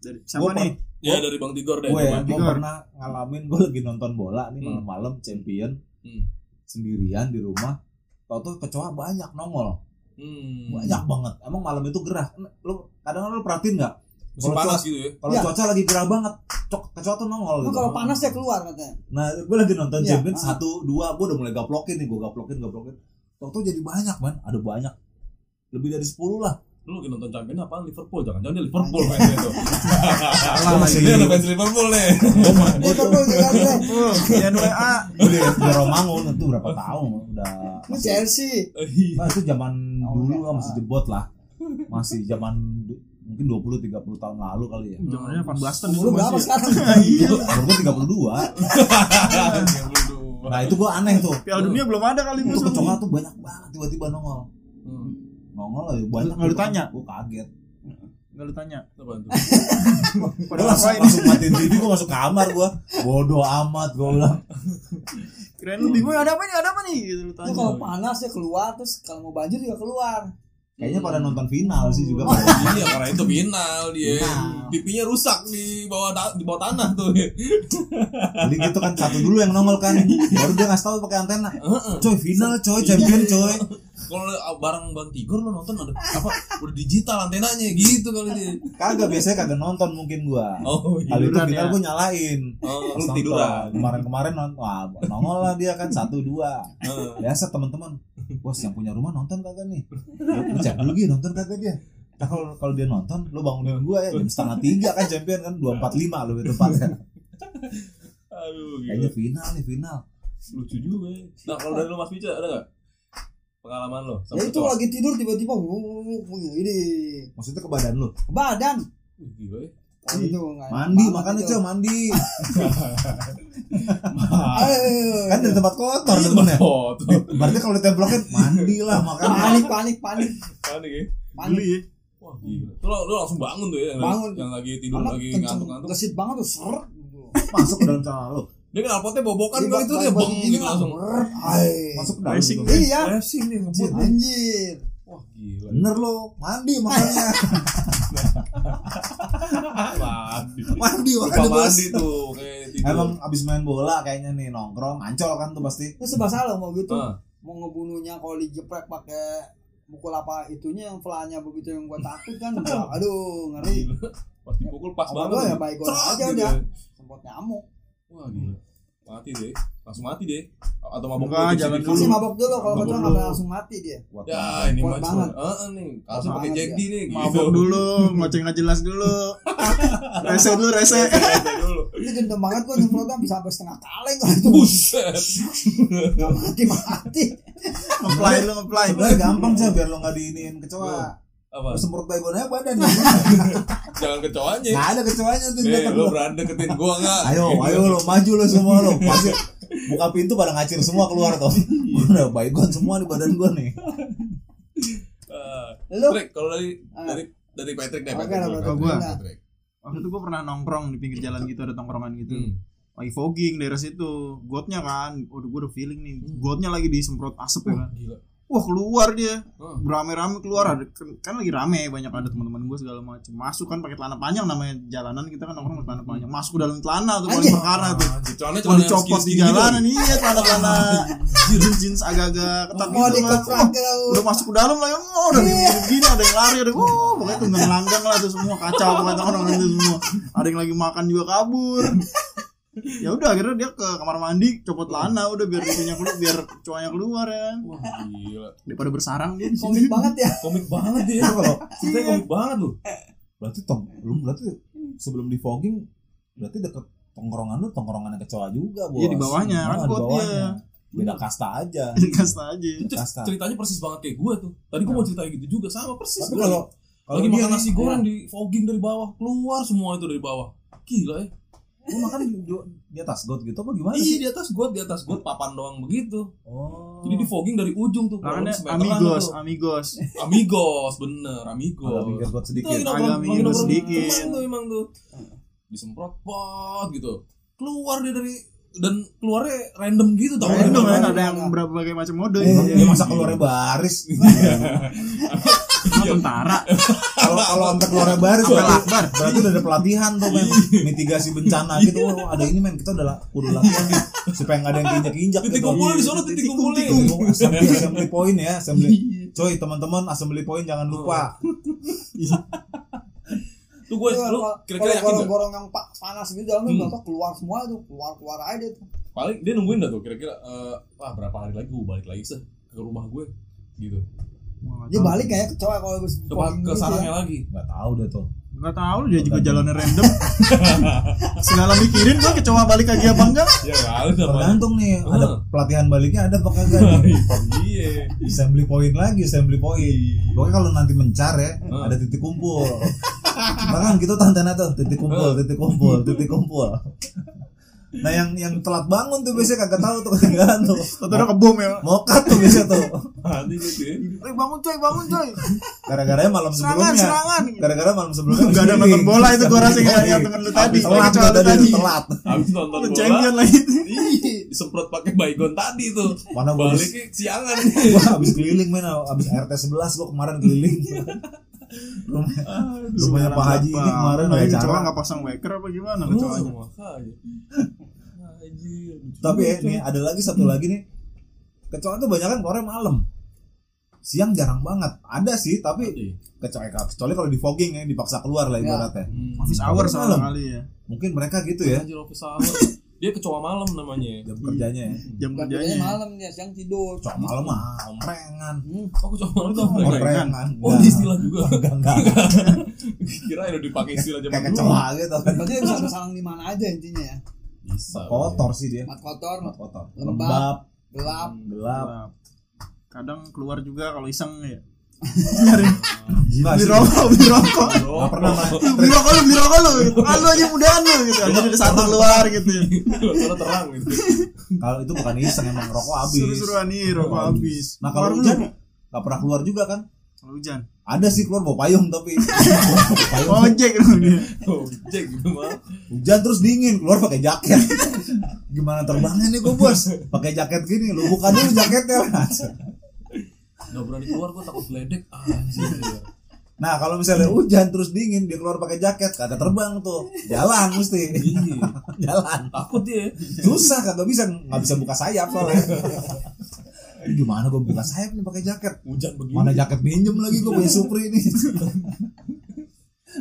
Speaker 1: dari
Speaker 4: Gua
Speaker 1: siapa
Speaker 4: per-
Speaker 1: nih
Speaker 3: ya dari bang tigor deh
Speaker 4: Gue ya,
Speaker 3: coba.
Speaker 4: gue
Speaker 1: Tigor.
Speaker 4: pernah ngalamin gue lagi nonton bola nih malam-malam champion
Speaker 3: Hmm.
Speaker 4: sendirian di rumah. Tau tuh kecoa banyak nongol,
Speaker 3: Hmm.
Speaker 4: banyak banget. Emang malam itu gerah. Lu kadang lu perhatiin nggak?
Speaker 3: Musim
Speaker 4: Kalau
Speaker 3: panas gitu ya
Speaker 4: Kalau
Speaker 2: Ya.
Speaker 4: cuaca lagi gerah banget, cok kecoa tuh nongol.
Speaker 2: Emang
Speaker 4: Gitu.
Speaker 2: kalau panas dia keluar katanya.
Speaker 4: Nah, gue lagi nonton
Speaker 2: Ya,
Speaker 4: champion
Speaker 2: ah.
Speaker 4: satu dua, gue udah mulai gaplokin nih, gue gaplokin gaplokin. Tau tuh jadi banyak man, ada banyak, lebih dari 10 lah.
Speaker 3: lu lagi nonton champion apaan Liverpool jangan-jangan dia Liverpool
Speaker 4: Iya.
Speaker 3: fansnya itu
Speaker 4: Gua
Speaker 1: salah
Speaker 4: masih-
Speaker 3: dia ada fans Liverpool nih Iya.
Speaker 2: Dia kebul juga dia.
Speaker 1: Oh, Yan WA
Speaker 4: udah Iya, udah Romangun itu berapa tahun udah
Speaker 2: Ini Chelsea.
Speaker 3: Eh, iya.
Speaker 4: nah, itu zaman
Speaker 2: Oh,
Speaker 4: dulu
Speaker 1: iya.
Speaker 2: udah.
Speaker 4: lah masih jebot lah masih zaman du- mungkin 20 30 tahun lalu kali ya
Speaker 1: zamannya Van Basten itu
Speaker 2: Umur lu berapa
Speaker 1: masih ya.
Speaker 2: sekarang?
Speaker 4: umur gua 32
Speaker 3: 32.
Speaker 4: nah itu gua aneh tuh
Speaker 1: Piala Dunia belum ada kali
Speaker 4: itu
Speaker 1: musuh.
Speaker 4: kecoa tuh banyak banget tiba-tiba nongol
Speaker 3: Hmm,
Speaker 4: nongol aja banyak
Speaker 1: Nggak ditanya?
Speaker 4: gua kaget
Speaker 1: Enggak lu tanya.
Speaker 3: apaan tuh?
Speaker 1: Pada
Speaker 4: gua langsung,
Speaker 1: ngapain?
Speaker 4: langsung matiin TV gua masuk kamar gua bodoh amat gua bilang
Speaker 1: Keren lu bingung ada apa nih? Ada apa nih? Gitu lu
Speaker 2: Lu
Speaker 1: tanya.
Speaker 2: kalau panas dia keluar terus kalau mau banjir juga keluar.
Speaker 4: kayaknya pada nonton final sih juga
Speaker 3: Iya karena itu final dia.
Speaker 4: Final.
Speaker 3: Pipinya rusak di bawah ta- di bawah tanah tuh.
Speaker 4: jadi gitu kan satu dulu yang nongol kan baru dia ngasih tahu pakai antena coy final coy champion coy
Speaker 3: Iya. Kalau barang Bang Tigor lo nonton ada apa udah digital antenanya gitu kali dia.
Speaker 4: Kagak biasanya kagak nonton mungkin gua.
Speaker 3: Oh, iya.
Speaker 4: Kali itu
Speaker 1: tiduran
Speaker 4: final
Speaker 1: ya.
Speaker 4: gua nyalain.
Speaker 3: Oh,
Speaker 4: Pas
Speaker 3: lu
Speaker 4: nonton.
Speaker 3: tiduran.
Speaker 4: Kemarin-kemarin nonton, wah nongol lah dia kan satu dua.
Speaker 3: Heeh.
Speaker 4: Biasa teman-teman. Bos yang punya rumah nonton kagak nih? Lu cek dulu Gi, nonton kagak dia? Nah, kalau kalau dia nonton, lu bangunin gua ya jam setengah tiga kan champion kan dua empat lima lu itu tempatnya.
Speaker 3: Aduh,
Speaker 4: Kayaknya
Speaker 3: gila.
Speaker 4: final nih final.
Speaker 3: lucu juga. ya. Nah, kalau dari lu Mas Pica ada nggak pengalaman lo
Speaker 2: Ya
Speaker 3: sama
Speaker 2: itu
Speaker 3: kecoa?
Speaker 2: lagi tidur tiba-tiba wuh, wuh, ini
Speaker 4: Maksudnya ke badan lu.
Speaker 2: ke badan. gitu, kan.
Speaker 3: Wih, Gila ya.
Speaker 2: Wah, itu nggak enak
Speaker 4: Mandi
Speaker 2: banget
Speaker 4: makanya
Speaker 2: itu.
Speaker 4: coy mandi.
Speaker 2: Aduh.
Speaker 4: Kan dari tempat kotor
Speaker 3: Itu
Speaker 2: ya?
Speaker 4: temennya.
Speaker 3: foto.
Speaker 4: Berarti kalau ditemplokin mandi lah makanya.
Speaker 2: panik panik panik
Speaker 3: Panik ya.
Speaker 2: panik
Speaker 1: ya.
Speaker 3: Wah, gila. Itu lo, lo langsung bangun tuh ya. yang-
Speaker 2: Bangun.
Speaker 3: Yang lagi tidur
Speaker 2: Anak
Speaker 3: lagi
Speaker 2: kenceng
Speaker 3: ngantuk-ngantuk.
Speaker 2: gesit banget tuh ser gitu.
Speaker 4: Masuk ke dalam celana lu.
Speaker 3: Dia kan alpotnya
Speaker 2: Iya,
Speaker 3: bobokan kali itu dia
Speaker 2: bang-
Speaker 3: beng
Speaker 2: bang-
Speaker 3: gitu langsung.
Speaker 2: Brr, ay.
Speaker 4: Masuk ke dalam.
Speaker 1: Racing.
Speaker 4: gitu.
Speaker 2: iya
Speaker 3: Racing nih ngebut.
Speaker 2: anjir
Speaker 3: Wah, gila.
Speaker 4: Bener lo, mandi makanya.
Speaker 3: Mandi.
Speaker 4: mandi
Speaker 3: Lupa
Speaker 2: kan
Speaker 4: makanya bos.
Speaker 3: mandi tuh kayak tidur.
Speaker 4: Emang abis main bola kayaknya nih nongkrong, ancol kan tuh pasti.
Speaker 2: lu sebab salah mau gitu
Speaker 3: Ah.
Speaker 2: mau ngebunuhnya kalau dijeprek pakai mukul apa itunya yang pelanya begitu yang gua takut
Speaker 3: [laughs]
Speaker 2: kan Gua, aduh ngeri
Speaker 3: Gila. Pas dipukul pas
Speaker 2: Apa
Speaker 3: banget.
Speaker 2: gua ya, baik gua
Speaker 3: Cerat
Speaker 2: aja
Speaker 3: gitu
Speaker 2: udah.
Speaker 3: ya.
Speaker 2: semprot nyamuk
Speaker 3: Wah, gila. Mati deh. Langsung mati deh. Atau mabok
Speaker 1: Enggak,
Speaker 3: dulu,
Speaker 1: jangan
Speaker 3: jadi
Speaker 2: masih
Speaker 1: Dulu.
Speaker 2: mabok dulu kalau kecoa
Speaker 3: Mabok
Speaker 2: nggak
Speaker 3: dulu.
Speaker 2: boleh langsung mati dia
Speaker 4: Buat
Speaker 3: Ya,
Speaker 4: makan.
Speaker 3: ini
Speaker 2: Kuat
Speaker 3: mah
Speaker 2: banget.
Speaker 3: Heeh nih. Harusnya pakai
Speaker 2: banget
Speaker 3: jadi nih. gitu.
Speaker 1: Mabok
Speaker 3: [laughs]
Speaker 1: dulu, ngoceng nggak jelas [laughs] dulu. rese dulu, rese.
Speaker 3: Kayak dulu.
Speaker 2: itu dendam banget gua nyemprotnya bisa sampai setengah kaleng
Speaker 3: [laughs]
Speaker 2: kalau itu
Speaker 3: Buset.
Speaker 2: nggak mati mati
Speaker 1: Ngeplay lu, ngeplay.
Speaker 4: Sebenarnya gampang sih biar lo nggak diinin kecoa.
Speaker 3: Apa?
Speaker 4: Lo semprot baygon aja badan. ya.
Speaker 3: [laughs] Jangan kecoanya.
Speaker 4: Nggak ada kecoanya tuh di
Speaker 3: Eh, Iya.
Speaker 4: depan
Speaker 3: lo Iya,
Speaker 4: lo.
Speaker 3: berani deketin gua Gitu. enggak?
Speaker 4: Nah, Ayo, ayo lo maju lo semua lo. Pasti buka pintu pada ngacir semua keluar tuh.
Speaker 3: Iya.
Speaker 4: Udah baygon semua di badan gua nih.
Speaker 2: Lu?
Speaker 3: Eh, Patrick, kalau dari
Speaker 2: Ah.
Speaker 3: dari dari Patrick deh.
Speaker 2: Oke,
Speaker 3: Patrick
Speaker 2: lah,
Speaker 3: dulu,
Speaker 2: Patrick.
Speaker 3: Patrick,
Speaker 2: Nah.
Speaker 3: Patrick.
Speaker 1: Waktu itu gue pernah nongkrong di pinggir jalan gitu, ada tongkrongan gitu.
Speaker 3: Hmm.
Speaker 1: Lagi Hmm. fogging daerah situ, gotnya kan. Waduh, gue udah feeling nih. Gotnya lagi disemprot asap ya kan.
Speaker 3: Gila.
Speaker 1: Uh, wah keluar dia
Speaker 3: Heeh.
Speaker 1: rame-rame keluar ada kan, kan lagi rame banyak ada teman-teman gue segala macam masuk kan pakai celana panjang namanya jalanan kita kan orang pakai celana panjang masuk ke dalam celana tuh paling
Speaker 2: Hmm. Anjing. Ah,
Speaker 1: perkara tuh
Speaker 3: Kecuali
Speaker 1: mau dicopot di
Speaker 2: gitu.
Speaker 1: jalanan
Speaker 3: gitu.
Speaker 1: iya celana celana
Speaker 2: [laughs]
Speaker 1: jeans jeans agak-agak ketat gitu
Speaker 2: mau
Speaker 1: lah
Speaker 2: dikeprak Iya.
Speaker 1: Wah,
Speaker 2: ke lu.
Speaker 1: udah masuk ke dalam lah ya oh, udah begini ada yang lari ada yang oh pokoknya tunggang langgang lah tuh semua kacau pokoknya orang-orang itu semua ada yang lagi makan juga kabur ya udah akhirnya dia ke kamar mandi copot celana udah biar itunya keluar biar cowoknya keluar ya
Speaker 3: Wah, gila.
Speaker 1: daripada bersarang dia di sini. [laughs]
Speaker 2: komik banget ya
Speaker 3: Komik banget dia.
Speaker 4: kalau
Speaker 3: Ceritanya komik banget lu.
Speaker 4: berarti tong belum berarti sebelum di fogging berarti deket tongkrongan lu tongkrongannya kecoa juga bos
Speaker 1: Iya, di bawahnya,
Speaker 4: Ah, di
Speaker 1: angkot
Speaker 3: iya.
Speaker 4: bawahnya beda kasta aja
Speaker 1: kasta aja
Speaker 3: Itu cer-
Speaker 4: Kasta.
Speaker 3: ceritanya persis banget kayak gue tuh. Tadi gue mau cerita kayak gitu juga sama persis.
Speaker 4: tapi
Speaker 3: Gua
Speaker 4: kalau kalau
Speaker 3: lagi
Speaker 4: dia
Speaker 3: makan
Speaker 4: nih,
Speaker 3: nasi goreng di fogging dari bawah keluar semua itu dari bawah. Gila ya.
Speaker 4: lu makan di, di- di atas got gitu apa gimana
Speaker 3: Iya
Speaker 4: sih
Speaker 3: di atas got, di atas got papan doang begitu.
Speaker 4: oh
Speaker 3: Jadi di fogging dari ujung tuh. kurang
Speaker 1: Makanya
Speaker 3: lebih semeteran
Speaker 1: amigos,
Speaker 3: tuh.
Speaker 1: amigos.
Speaker 4: Iya.
Speaker 3: Amigos, bener, amigos.
Speaker 4: ada pinggir got
Speaker 3: Itu
Speaker 4: sedikit
Speaker 3: lagi
Speaker 1: Agak
Speaker 3: nongkrong, lagi
Speaker 1: amigos
Speaker 3: nongkrong
Speaker 1: sedikit.
Speaker 3: temen tuh emang tuh. Disemprot pot gitu. Keluar dia dari dan keluarnya random gitu tau
Speaker 1: Random
Speaker 2: Random,
Speaker 1: kan
Speaker 2: random.
Speaker 1: ada yang
Speaker 4: Iya.
Speaker 1: berbagai macam mode.
Speaker 4: Eh, ya
Speaker 1: Iya.
Speaker 4: masa keluarnya baris
Speaker 1: Sama Ah, tentara.
Speaker 4: kalau kalau sampai keluarnya baris
Speaker 1: Sampai
Speaker 4: berarti-
Speaker 1: lakbar.
Speaker 4: berarti udah ada pelatihan tuh men
Speaker 3: Iya.
Speaker 4: mitigasi bencana gitu Wah, ada ini men kita udah la- udah latihan nih supaya nggak ada yang gitu. injak injak
Speaker 3: Titik kumpulnya di sana, titik Iya. kumpulnya.
Speaker 4: assembly assembly point ya assembly coy teman-teman assembly point jangan lupa
Speaker 3: Oh. Tuh gue, lu
Speaker 2: Iya, Kalau-
Speaker 3: kira-kira
Speaker 2: kalau
Speaker 3: yakin gak?
Speaker 2: gorong-gorong yang pa- panas gitu dalamnya
Speaker 3: Hmm.
Speaker 2: nggak tau keluar semua tuh keluar keluar aja tuh
Speaker 3: Paling dia nungguin dah tuh kira-kira eh, wah berapa hari lagi gue balik lagi sih ke rumah gue gitu.
Speaker 4: Iya.
Speaker 2: dia balik kayak kecoa kalau gue
Speaker 3: Ke, ke
Speaker 2: iya.
Speaker 3: sarangnya lagi.
Speaker 4: nggak tahu deh tuh
Speaker 1: Enggak tahu dia juga jalannya
Speaker 4: [laughs]
Speaker 1: random. Segala mikirin gua kecoa balik lagi apa enggak?
Speaker 3: Ya kali dah Pak.
Speaker 4: tergantung nih ada
Speaker 3: Ah.
Speaker 4: pelatihan baliknya ada apa kagak nih
Speaker 3: Iya.
Speaker 4: assembly point lagi assembly point pokoknya kalau nanti mencar ya
Speaker 3: Ah.
Speaker 4: ada titik kumpul bahkan gitu tantenya tuh titik kumpul titik kumpul titik kumpul nah yang yang telat bangun tuh biasanya kagak tahu tuh ketinggalan tuh
Speaker 1: Atau udah kebom ya.
Speaker 4: mokat tuh biasanya tuh
Speaker 3: Nanti gitu ya.
Speaker 1: Eh bangun coy, bangun coy.
Speaker 4: gara-garanya malam
Speaker 1: Serangan,
Speaker 4: sebelumnya
Speaker 1: serangan.
Speaker 4: gara-gara malam sebelumnya Iya.
Speaker 1: Enggak ada nonton bola itu gua rasa yang yang temen lu tadi.
Speaker 4: telat
Speaker 1: Kecoa
Speaker 4: tuh
Speaker 1: lu
Speaker 4: tadi
Speaker 1: tadi.
Speaker 4: lu telat
Speaker 3: Habis nonton
Speaker 1: Lu
Speaker 3: bola.
Speaker 1: champion lagi.
Speaker 3: Ih, disemprot pakai baygon tadi tuh.
Speaker 4: Mana gua
Speaker 3: Baliknya
Speaker 4: [laughs]
Speaker 3: siangan.
Speaker 4: gua habis keliling men habis RT 11 gua kemarin keliling rumah rumahnya Pak Haji ini kemarin ada
Speaker 1: Kecoa
Speaker 4: acara
Speaker 1: enggak pasang waker apa gimana kecoanya?
Speaker 3: Oh, makanya. Anjir.
Speaker 4: tapi ya, nih ada lagi satu lagi nih kecoa tuh banyak kan keluarnya malam siang jarang banget ada sih tapi
Speaker 3: Iya.
Speaker 4: kecoa kecuali kalau di fogging ya dipaksa keluar lah
Speaker 2: Ya.
Speaker 4: ibaratnya
Speaker 3: Hmm.
Speaker 1: Office hour sama
Speaker 4: Malam.
Speaker 1: kali ya.
Speaker 4: mungkin mereka gitu ya
Speaker 3: Anjir office
Speaker 4: [laughs]
Speaker 3: hour. Dia kecoa malam namanya.
Speaker 4: jam kerjanya ya
Speaker 1: Jam
Speaker 2: kerjanya
Speaker 1: kerjanya.
Speaker 2: malam dia siang tidur
Speaker 4: kecoa malam mah omrengan
Speaker 2: Hmm.
Speaker 3: Oh, kecoa malam tuh apa ya?
Speaker 4: omrengan
Speaker 3: Oh,
Speaker 4: Enggak.
Speaker 3: ini istilah juga. [laughs]
Speaker 4: [laughs] enggak enggak
Speaker 3: Kira udah dipakai istilah zaman
Speaker 4: kayak
Speaker 3: dulu.
Speaker 4: kecoa gitu
Speaker 2: berarti dia bisa bersarang di mana aja intinya ya
Speaker 3: Bisa.
Speaker 4: kotor sih dia
Speaker 2: mat kotor
Speaker 4: Tempat kotor
Speaker 2: Lembab.
Speaker 4: lembab
Speaker 2: gelap
Speaker 4: gelap
Speaker 1: Kadang keluar juga kalau iseng ya.
Speaker 4: gila
Speaker 1: Beli
Speaker 4: sih
Speaker 1: rokok, beli rokok.
Speaker 4: Nggak pernah
Speaker 1: beli rokok lu beli rokok lu gitu kan lu aja mudahan lu gitu aja ada satu keluar gitu ya
Speaker 3: [laughs] Suara terang gitu.
Speaker 4: kalau itu bukan iseng emang rokok
Speaker 1: suruh
Speaker 4: habis
Speaker 1: suruan nih rokok habis
Speaker 4: nah kalau
Speaker 1: Keluar
Speaker 4: hujan
Speaker 1: lu.
Speaker 4: nggak pernah keluar juga kan
Speaker 1: kalau hujan
Speaker 4: ada sih keluar bawa payung tapi [laughs] Bawa payung
Speaker 1: ojek gitu. lu dia
Speaker 3: Oh, cek gitu mah.
Speaker 4: hujan terus dingin keluar pakai jaket gimana terbangnya nih gue bos pakai jaket gini lu buka dulu jaketnya
Speaker 3: Gak berani keluar gue takut geledek. Ah, Anjir.
Speaker 4: nah kalau misalnya hujan terus dingin dia keluar pakai jaket kagak terbang tuh jalan mesti
Speaker 3: Iya.
Speaker 4: jalan
Speaker 3: Takut dia.
Speaker 4: susah kagak bisa nggak bisa buka sayap soalnya Ini gimana gue buka sayap nih pakai jaket
Speaker 3: Hujan begini.
Speaker 4: mana jaket minjem lagi gue punya supri nih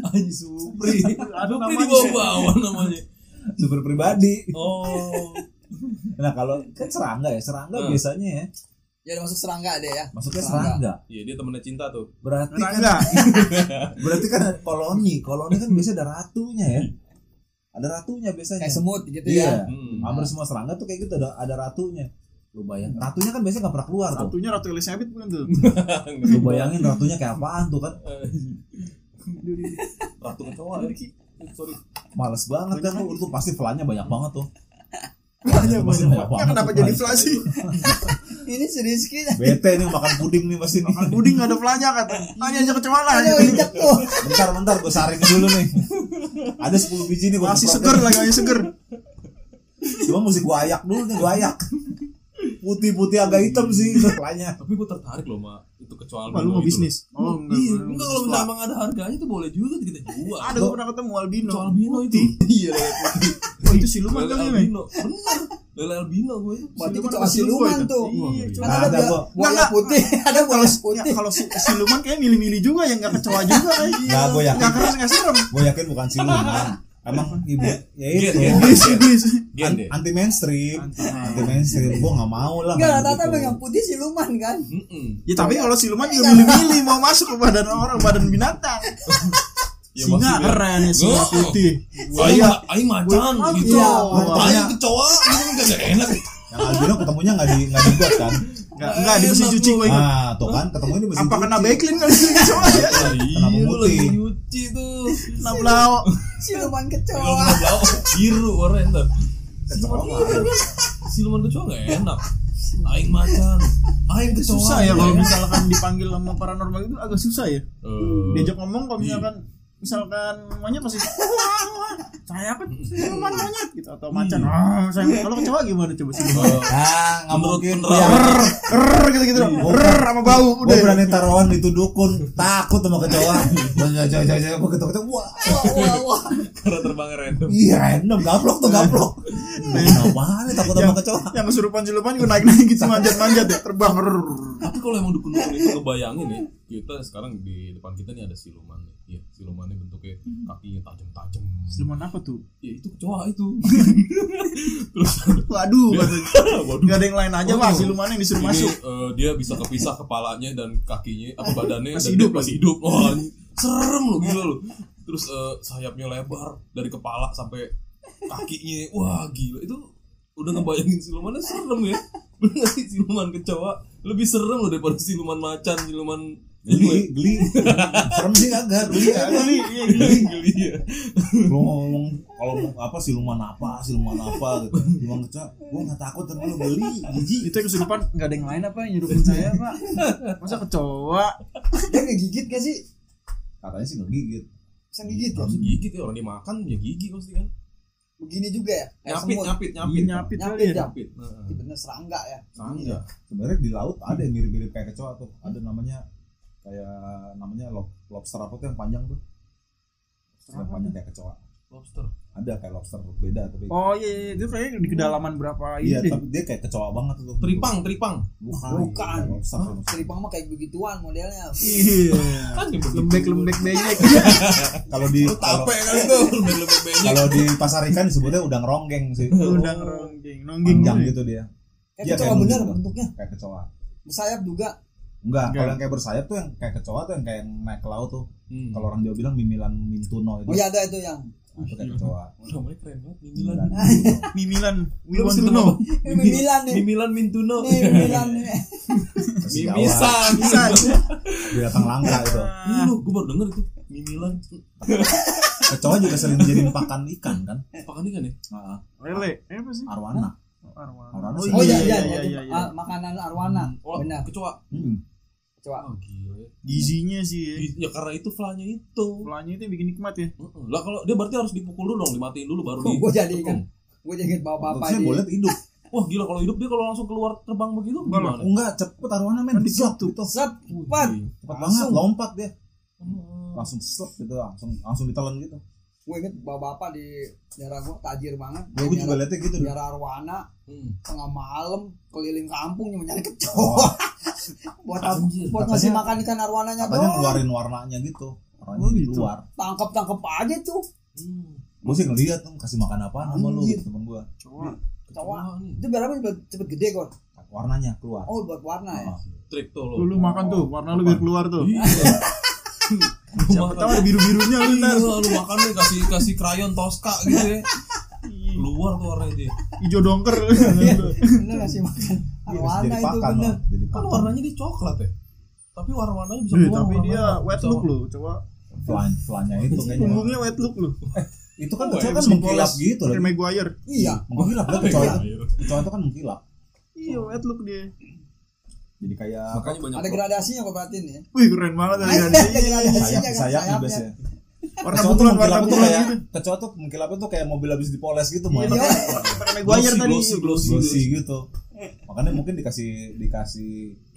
Speaker 3: Anjir Supri.
Speaker 1: Ada
Speaker 3: Supri
Speaker 1: namanya.
Speaker 3: di bawah-bawah namanya.
Speaker 4: supri pribadi
Speaker 3: Oh.
Speaker 4: nah kalau kan serangga ya serangga
Speaker 3: Hmm.
Speaker 4: biasanya ya
Speaker 2: ya udah masuk serangga deh ya
Speaker 4: maksudnya serangga
Speaker 3: Iya, dia temennya cinta tuh.
Speaker 4: berarti kan
Speaker 1: enggak
Speaker 4: Berarti kan ada koloni, koloni kan biasanya ada ratunya ya. Ada ratunya biasanya.
Speaker 2: kayak semut gitu ya
Speaker 4: Iya.
Speaker 3: Hmm.
Speaker 4: Hampir semua serangga tuh kayak gitu ada ada ratunya. Lu bayangin, ratunya kan biasanya gak pernah keluar tuh.
Speaker 1: satunya ratu Elizabeth bukan tuh
Speaker 4: Lu bayangin ratunya kayak apaan tuh kan.
Speaker 3: Ratu kecoa ya. Sorry.
Speaker 4: Males banget kan tuh itu pasti flannya banyak banget tuh.
Speaker 1: banyak
Speaker 4: Pasti
Speaker 1: banyak ya kenapa
Speaker 4: tuh
Speaker 1: jadi
Speaker 4: flan.
Speaker 1: flash sih
Speaker 2: ini serius kita
Speaker 4: Bete nih makan puding nih pasti nih.
Speaker 1: makan puding nggak ada flanya kata hanya aja kecewa lah
Speaker 2: ayo injek tuh
Speaker 4: Bentar bentar gue saring dulu nih. Ada 10 biji nih gue
Speaker 1: masih seger lagi masih seger
Speaker 4: Cuma mesti gue ayak dulu nih gue ayak. putih-putih agak hitam sih kepalanya.
Speaker 3: Tapi gue tertarik loh sama itu kecoa
Speaker 1: Apa
Speaker 3: albino.
Speaker 1: lu mau
Speaker 3: itu.
Speaker 1: bisnis? Oh,
Speaker 3: Iya,
Speaker 1: enggak.
Speaker 3: enggak kalau memang ada harganya tuh boleh juga kita jual.
Speaker 1: Ada gue pernah ketemu albino.
Speaker 3: Kecoa albino itu. [laughs] Iya, lele putih.
Speaker 1: Oh, itu siluman
Speaker 3: Lele
Speaker 1: kali, men.
Speaker 3: albino. Benar. Lele albino gue itu.
Speaker 2: Berarti
Speaker 1: Siluman
Speaker 2: kecoa
Speaker 1: apa silurboy
Speaker 2: siluman
Speaker 1: itu?
Speaker 2: tuh.
Speaker 1: Iya,
Speaker 2: Kan
Speaker 4: Nah,
Speaker 2: ada
Speaker 4: ada
Speaker 2: buaya-
Speaker 4: gua.
Speaker 2: buaya
Speaker 1: Nggak,
Speaker 2: putih, ada buaya
Speaker 1: Ya,
Speaker 2: putih.
Speaker 1: kalau si, siluman kayak milih-milih juga yang nggak kecoa juga
Speaker 3: [laughs]
Speaker 1: kayak
Speaker 3: Nah,
Speaker 4: Nggak, gua yakin.
Speaker 1: Nggak keras nggak serem.
Speaker 4: Gue yakin bukan siluman. Emang ibu ya
Speaker 3: Gen,
Speaker 4: itu
Speaker 3: gen,
Speaker 1: Iblis, iblis.
Speaker 3: Gen
Speaker 4: An-
Speaker 3: deh.
Speaker 4: anti mainstream, anti mainstream. Gue nggak mau lah.
Speaker 2: Enggak,
Speaker 4: kayak
Speaker 2: rata-rata
Speaker 4: gitu.
Speaker 2: yang putih siluman kan.
Speaker 3: Mm-mm.
Speaker 1: Ya tapi kalau siluman juga milih-milih mau masuk ke badan orang, badan binatang.
Speaker 3: [laughs] Ya,
Speaker 1: singa
Speaker 3: maksudnya-
Speaker 1: keren ya, singa
Speaker 3: Oh. iya.
Speaker 1: putih.
Speaker 3: Aing ma- aing macan
Speaker 1: Gua-
Speaker 3: gitu.
Speaker 2: Iya,
Speaker 3: Aing kecoa gitu kan gak enak.
Speaker 4: Yang albino ketemunya nggak di nggak di got kan?
Speaker 1: Enggak, enggak di mesin
Speaker 3: Enak
Speaker 1: cuci
Speaker 3: lu.
Speaker 1: gue ingat.
Speaker 4: Nah, tuh kan ketemunya di mesin
Speaker 1: Apa kena
Speaker 4: cuci.
Speaker 1: backlink kali sih
Speaker 3: [laughs]
Speaker 1: kecoa ya?
Speaker 3: Iya, lu lagi
Speaker 4: putih?
Speaker 3: nyuci tuh.
Speaker 1: Kena belau.
Speaker 2: Siluman
Speaker 3: Kalau
Speaker 2: kecoa.
Speaker 3: kena blau biru warnanya ntar.
Speaker 4: Kecoa
Speaker 3: Siluman kecoa. Siluman kecoa gak enak. Aing macan. Aing Iya. kecoa.
Speaker 1: Susah ya
Speaker 3: gak
Speaker 1: kalau
Speaker 3: enak.
Speaker 1: misalkan dipanggil sama paranormal itu agak susah ya.
Speaker 3: Eh,
Speaker 1: Diajak ngomong kalau misalkan misalkan monyet pasti "Wah, wah, saya apa siluman monyet gitu atau macan
Speaker 3: Iya.
Speaker 1: ah saya kalau kecoa gimana coba siluman
Speaker 3: eh,
Speaker 4: Nah, nggak
Speaker 3: Menurut
Speaker 4: mungkin.
Speaker 1: Iya.
Speaker 3: penerawan.
Speaker 1: Rrrr gitu gitu Rrrr sama bau
Speaker 4: Gue
Speaker 1: udah
Speaker 4: berani taruhan itu dukun takut sama kecoa. Jajan-jajan gue ketok-ketok. Wah,
Speaker 2: Wah, wah, wah.
Speaker 3: Karena terbang random.
Speaker 4: iya random gaplok tuh gaplok. Kenapa nih takut sama kecoa?
Speaker 1: Iya. yang kesurupan siluman gue naik naik gitu manjat manjat ya terbang Rrrr.
Speaker 3: Tapi kalau emang dukun-dukun itu ngebayangin ya, kita sekarang di depan kita nih ada siluman nih. Iya, silumannya bentuknya kakinya tajam-tajam.
Speaker 1: siluman apa tuh
Speaker 3: Ya itu kecoa itu.
Speaker 1: Iya. waduh katanya.
Speaker 3: [laughs] Waduh.
Speaker 1: nggak ada yang lain aja
Speaker 3: Waduh.
Speaker 1: pak siluman yang disuruh
Speaker 3: Ini,
Speaker 1: masuk
Speaker 3: eh, dia bisa kepisah kepalanya dan kakinya apa badannya
Speaker 1: Masih
Speaker 3: dan
Speaker 1: hidup
Speaker 3: dia masih hidup. Wah, ini serem lo gila lo. Terus eh, sayapnya lebar dari kepala sampai kakinya. Wah, gila itu udah ngebayangin silumannya serem ya. Bener nggak sih siluman kecoa lebih serem loh daripada siluman macan, siluman
Speaker 4: Geli, geli. Serem sih kagak, geli kagak.
Speaker 1: Geli, iya, geli.
Speaker 3: [laughs] geli ya.
Speaker 4: Lu ngomong kalau mau apa siluman apa, siluman apa gitu. Siluman kecoa, gue nggak takut tapi lu geli, jijik.
Speaker 1: itu yang kesurupan nggak ada yang lain apa yang nyurupin saya pak [laughs] masa kecoa
Speaker 2: Dia ngegigit gak sih?
Speaker 4: Katanya sih ngegigit.
Speaker 2: Bisa ngigit ya?
Speaker 3: Harus gigit ya orang dimakan ya gigi pasti kan.
Speaker 2: Begini juga ya? Kayak
Speaker 3: Nyapit,
Speaker 2: semut.
Speaker 3: nyapit,
Speaker 1: Iya,
Speaker 3: nyapit.
Speaker 1: nyapit
Speaker 2: Nyapit,
Speaker 1: kali ya
Speaker 2: nyapit.
Speaker 3: Nyapit. Nah,
Speaker 2: Bener serangga ya?
Speaker 3: Serangga.
Speaker 4: Sebenarnya di laut ada yang mirip-mirip kayak kecoa tuh. Ada namanya kayak namanya lob- lobster apa tuh yang panjang tuh. Lobster yang panjang kayak kecoa.
Speaker 3: Lobster.
Speaker 4: Ada kayak lobster beda tapi
Speaker 1: oh iya, iya itu kayaknya di kedalaman berapa ini
Speaker 4: Iya,
Speaker 1: deh
Speaker 4: tapi dia kayak kecoa banget tuh.
Speaker 3: Teripang, teripang.
Speaker 4: Bukan.
Speaker 2: Bukan.
Speaker 4: Kayak Lobster.
Speaker 2: Seripang mah kayak begituan modelnya.
Speaker 1: iya
Speaker 3: Kan dia begitu.
Speaker 1: lembek lembek [laughs] bejek
Speaker 4: Kalau di
Speaker 3: Lu
Speaker 4: kalau-
Speaker 3: tape kali tuh, [laughs] lembek-lembek banyak.
Speaker 4: kalau di pasar ikan disebutnya udang ronggeng sih.
Speaker 1: udah ngerongging nongging
Speaker 4: Panjang
Speaker 1: dulu ya.
Speaker 4: gitu dia.
Speaker 2: Kayak
Speaker 4: Iya,
Speaker 2: kecoa
Speaker 4: kayak
Speaker 2: bener
Speaker 4: begitu.
Speaker 2: bentuknya.
Speaker 4: Kayak kecoa.
Speaker 2: Bersayap juga.
Speaker 4: Enggak,
Speaker 1: Enggak.
Speaker 4: kalau yang kayak bersayap tuh yang kayak kecoa tuh yang kayak yang naik ke laut tuh.
Speaker 3: Hmm.
Speaker 4: Kalau orang Jawa bilang mimilan mintuno itu.
Speaker 2: Oh iya ada itu
Speaker 4: [laughs]
Speaker 2: yang.
Speaker 4: Nah, Itu kayak kecoa.
Speaker 3: namanya keren banget Mimilan
Speaker 4: Mimilan.
Speaker 1: Mimilan we
Speaker 3: Lu
Speaker 1: want
Speaker 3: bisa
Speaker 1: to know
Speaker 2: Ini Milan nih.
Speaker 3: Mimilan Mintuno
Speaker 2: Nih Milan nih.
Speaker 4: [laughs] Terus Jawa,
Speaker 3: Mimisan
Speaker 1: bisa
Speaker 4: Binatang langka itu.
Speaker 3: Iya lu, gue baru denger itu Mimilan
Speaker 4: Kecoa juga sering dijadiin pakan ikan kan?
Speaker 3: Pakan ikan ya?
Speaker 4: Heeh.
Speaker 1: lele eh apa sih
Speaker 4: Arwana.
Speaker 1: arwana
Speaker 4: Oh,
Speaker 2: Oh iya iya
Speaker 1: iya,
Speaker 2: itu,
Speaker 1: iya, iya.
Speaker 2: ah, makanan arwana.
Speaker 3: Oh,
Speaker 2: Benar.
Speaker 3: Kecoa
Speaker 4: Hmm.
Speaker 2: Coba.
Speaker 3: Oh gila ya
Speaker 1: gizinya sih ya.
Speaker 3: Di- Ya karena itu flanya itu
Speaker 1: Polanya itu yang bikin nikmat ya
Speaker 3: Mm-mm. Lah kalau dia berarti harus dipukul dulu dong Dimatiin dulu baru
Speaker 2: Kok
Speaker 3: di
Speaker 2: [laughs] gua jadi
Speaker 3: tekung.
Speaker 2: Gue jadi inget bapak-bapak di-
Speaker 4: Bagusnya Oh, gitu. boleh hidup.
Speaker 3: Wah gila kalau hidup dia kalau langsung keluar terbang begitu
Speaker 1: Enggak lah.
Speaker 3: gimana?
Speaker 4: Enggak, cepet arwana men.
Speaker 1: Kan
Speaker 4: Slap
Speaker 1: disitu.
Speaker 4: gitu.
Speaker 2: Set,
Speaker 3: Wih, Hmm.
Speaker 2: Pan.
Speaker 4: Cepet banget
Speaker 2: Langsung.
Speaker 4: lompat dia.
Speaker 3: Mm-mm.
Speaker 4: Langsung slap gitu, langsung langsung ditelan gitu.
Speaker 2: Gue inget bapak-bapak di daerah gue tajir banget.
Speaker 4: Gue juga liatnya gitu deh.
Speaker 2: Daerah arwana
Speaker 3: Mm.
Speaker 2: tengah malam keliling kampung nyari
Speaker 4: Oh.
Speaker 2: kecoa [laughs] buat
Speaker 3: Anjir.
Speaker 2: buat ngasih
Speaker 4: Katanya-
Speaker 2: makan ikan arwananya
Speaker 4: katanya
Speaker 2: doang
Speaker 4: ngeluarin warnanya gitu warnanya
Speaker 1: Oh,
Speaker 4: jadi
Speaker 1: gitu.
Speaker 4: keluar
Speaker 2: tangkap tangkap aja tuh
Speaker 3: Mm.
Speaker 4: gue sih ngeliat tuh kasih makan apaan sama lu
Speaker 2: Anjir.
Speaker 4: gitu temen gue
Speaker 1: coba
Speaker 4: Oh,
Speaker 2: Kecoa.
Speaker 4: iya.
Speaker 3: nih
Speaker 2: itu berapa cepet, cepet gede kok
Speaker 4: warnanya keluar Ah.
Speaker 2: oh buat warna ya
Speaker 4: Heeh.
Speaker 3: Trik tuh lo
Speaker 1: lu, lu makan tuh warna lu biar keluar tuh
Speaker 3: Iya Lu
Speaker 1: siapa
Speaker 3: makan.
Speaker 1: tahu ada biru birunya lu
Speaker 3: Iya,
Speaker 1: ntar
Speaker 3: lu makan nih kasih kasih krayon Tosca gitu ya. Keluar tuh warnanya dia.
Speaker 1: hijau dongker
Speaker 2: Iya, bener ngasih makan
Speaker 4: [laughs] Iya,
Speaker 2: arwana
Speaker 4: jadi
Speaker 2: itu
Speaker 4: pakan
Speaker 2: bener
Speaker 4: lah, jadi
Speaker 3: Kan
Speaker 4: pakan
Speaker 3: warnanya dia coklat ya. Tapi warna-warnanya bisa
Speaker 1: Eh,
Speaker 3: keluar.
Speaker 1: tapi
Speaker 3: warna-warna.
Speaker 1: dia wet
Speaker 3: Bisa-
Speaker 1: look lu coba
Speaker 4: pelan pelannya itu
Speaker 1: Iya.
Speaker 4: kayaknya
Speaker 1: punggungnya wet look lu
Speaker 4: itu kan
Speaker 3: Oh,
Speaker 4: kecoa
Speaker 3: ya,
Speaker 4: kan
Speaker 1: si
Speaker 4: mengkilap
Speaker 1: polos.
Speaker 4: gitu loh
Speaker 1: kayak Maguire
Speaker 2: iya
Speaker 4: mengkilap lah
Speaker 3: Apa
Speaker 4: kecoa
Speaker 3: ya?
Speaker 4: itu kecoa itu kan mengkilap
Speaker 1: iya wet look dia
Speaker 4: jadi kayak
Speaker 3: Makanya banyak
Speaker 2: ada gradasinya kok perhatiin [laughs]
Speaker 4: Iya,
Speaker 2: ya
Speaker 1: wih keren banget ada
Speaker 2: ada
Speaker 1: ganti
Speaker 2: [laughs] gradasinya
Speaker 4: sayap
Speaker 2: kan
Speaker 4: sayap juga
Speaker 2: sayapnya
Speaker 4: sih
Speaker 1: warna
Speaker 4: kecoa tuh
Speaker 1: pukulan warna pukulan
Speaker 4: mengkilap tuh kayak
Speaker 1: gitu
Speaker 4: kecoa tuh mengkilapnya tuh kayak mobil habis dipoles gitu mau
Speaker 1: Iya,
Speaker 4: enak
Speaker 1: pakai Maguire tadi
Speaker 3: Glossy, glossy, glossy.
Speaker 4: glossy gitu makanya mungkin dikasih dikasih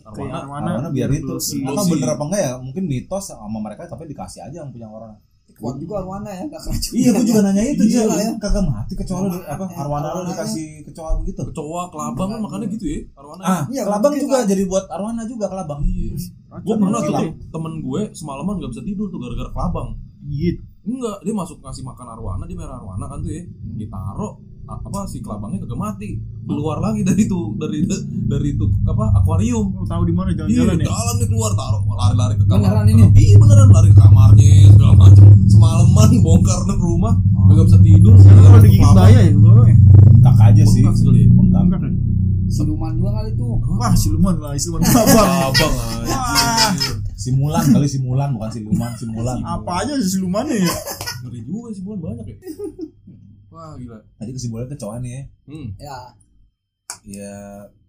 Speaker 1: Kayak
Speaker 3: Arwana
Speaker 1: mana?
Speaker 4: mana biar itu
Speaker 1: Inklusi.
Speaker 4: atau bener apa enggak ya mungkin mitos sama mereka tapi dikasih aja yang punya orang
Speaker 2: kuat juga Arwana ya gak keracunan
Speaker 4: iya gue juga nanya itu
Speaker 2: Iya
Speaker 4: dia
Speaker 2: lah ya.
Speaker 4: kagak mati kecoa lu
Speaker 2: Mati.
Speaker 4: apa arwana lu
Speaker 2: Arwana
Speaker 4: dikasih kecoa begitu
Speaker 3: kecoa kelabang kan makanya gitu ya arwana
Speaker 4: ah
Speaker 2: Iya,
Speaker 4: kelabang
Speaker 2: mungkin,
Speaker 4: juga
Speaker 2: Pak.
Speaker 4: jadi buat arwana juga kelabang
Speaker 1: Iya.
Speaker 3: gue pernah tuh
Speaker 1: Gila.
Speaker 3: Tem, temen gue semalaman nggak bisa tidur tuh gara-gara kelabang
Speaker 1: Gigit.
Speaker 3: enggak dia masuk ngasih makan arwana dia merah arwana kan tuh ya ditaro a- apa si kelabangnya kagak mati keluar lagi dari itu dari dari itu apa akuarium
Speaker 1: Lu Tahu di mana
Speaker 3: Iya,
Speaker 1: jalan-jalan ya?
Speaker 3: jalan dia keluar taruh lari-lari ke kamar.
Speaker 2: Beneran ini?
Speaker 3: Iya beneran lari ke kamarnya segala macam. Semalaman bongkar nih rumah, nggak bisa tidur.
Speaker 1: Kalau
Speaker 3: Kalau
Speaker 1: digigit bahaya ya, bawahnya.
Speaker 4: bengkak aja sih
Speaker 3: sekali. ya.
Speaker 4: bengkak
Speaker 1: Enggak kan?
Speaker 2: siluman juga kali itu
Speaker 1: Wah, siluman lah, siluman abang.
Speaker 3: Abang
Speaker 1: Wah.
Speaker 3: aja.
Speaker 4: simulan kali simulan bukan siluman simulan
Speaker 1: Apa aja sih silumannya ya?
Speaker 3: Ngeri juga sih bulan banyak ya. Wah gila.
Speaker 4: tadi kesimpulan kecoa nih ya
Speaker 3: Hmm.
Speaker 2: ya
Speaker 4: ya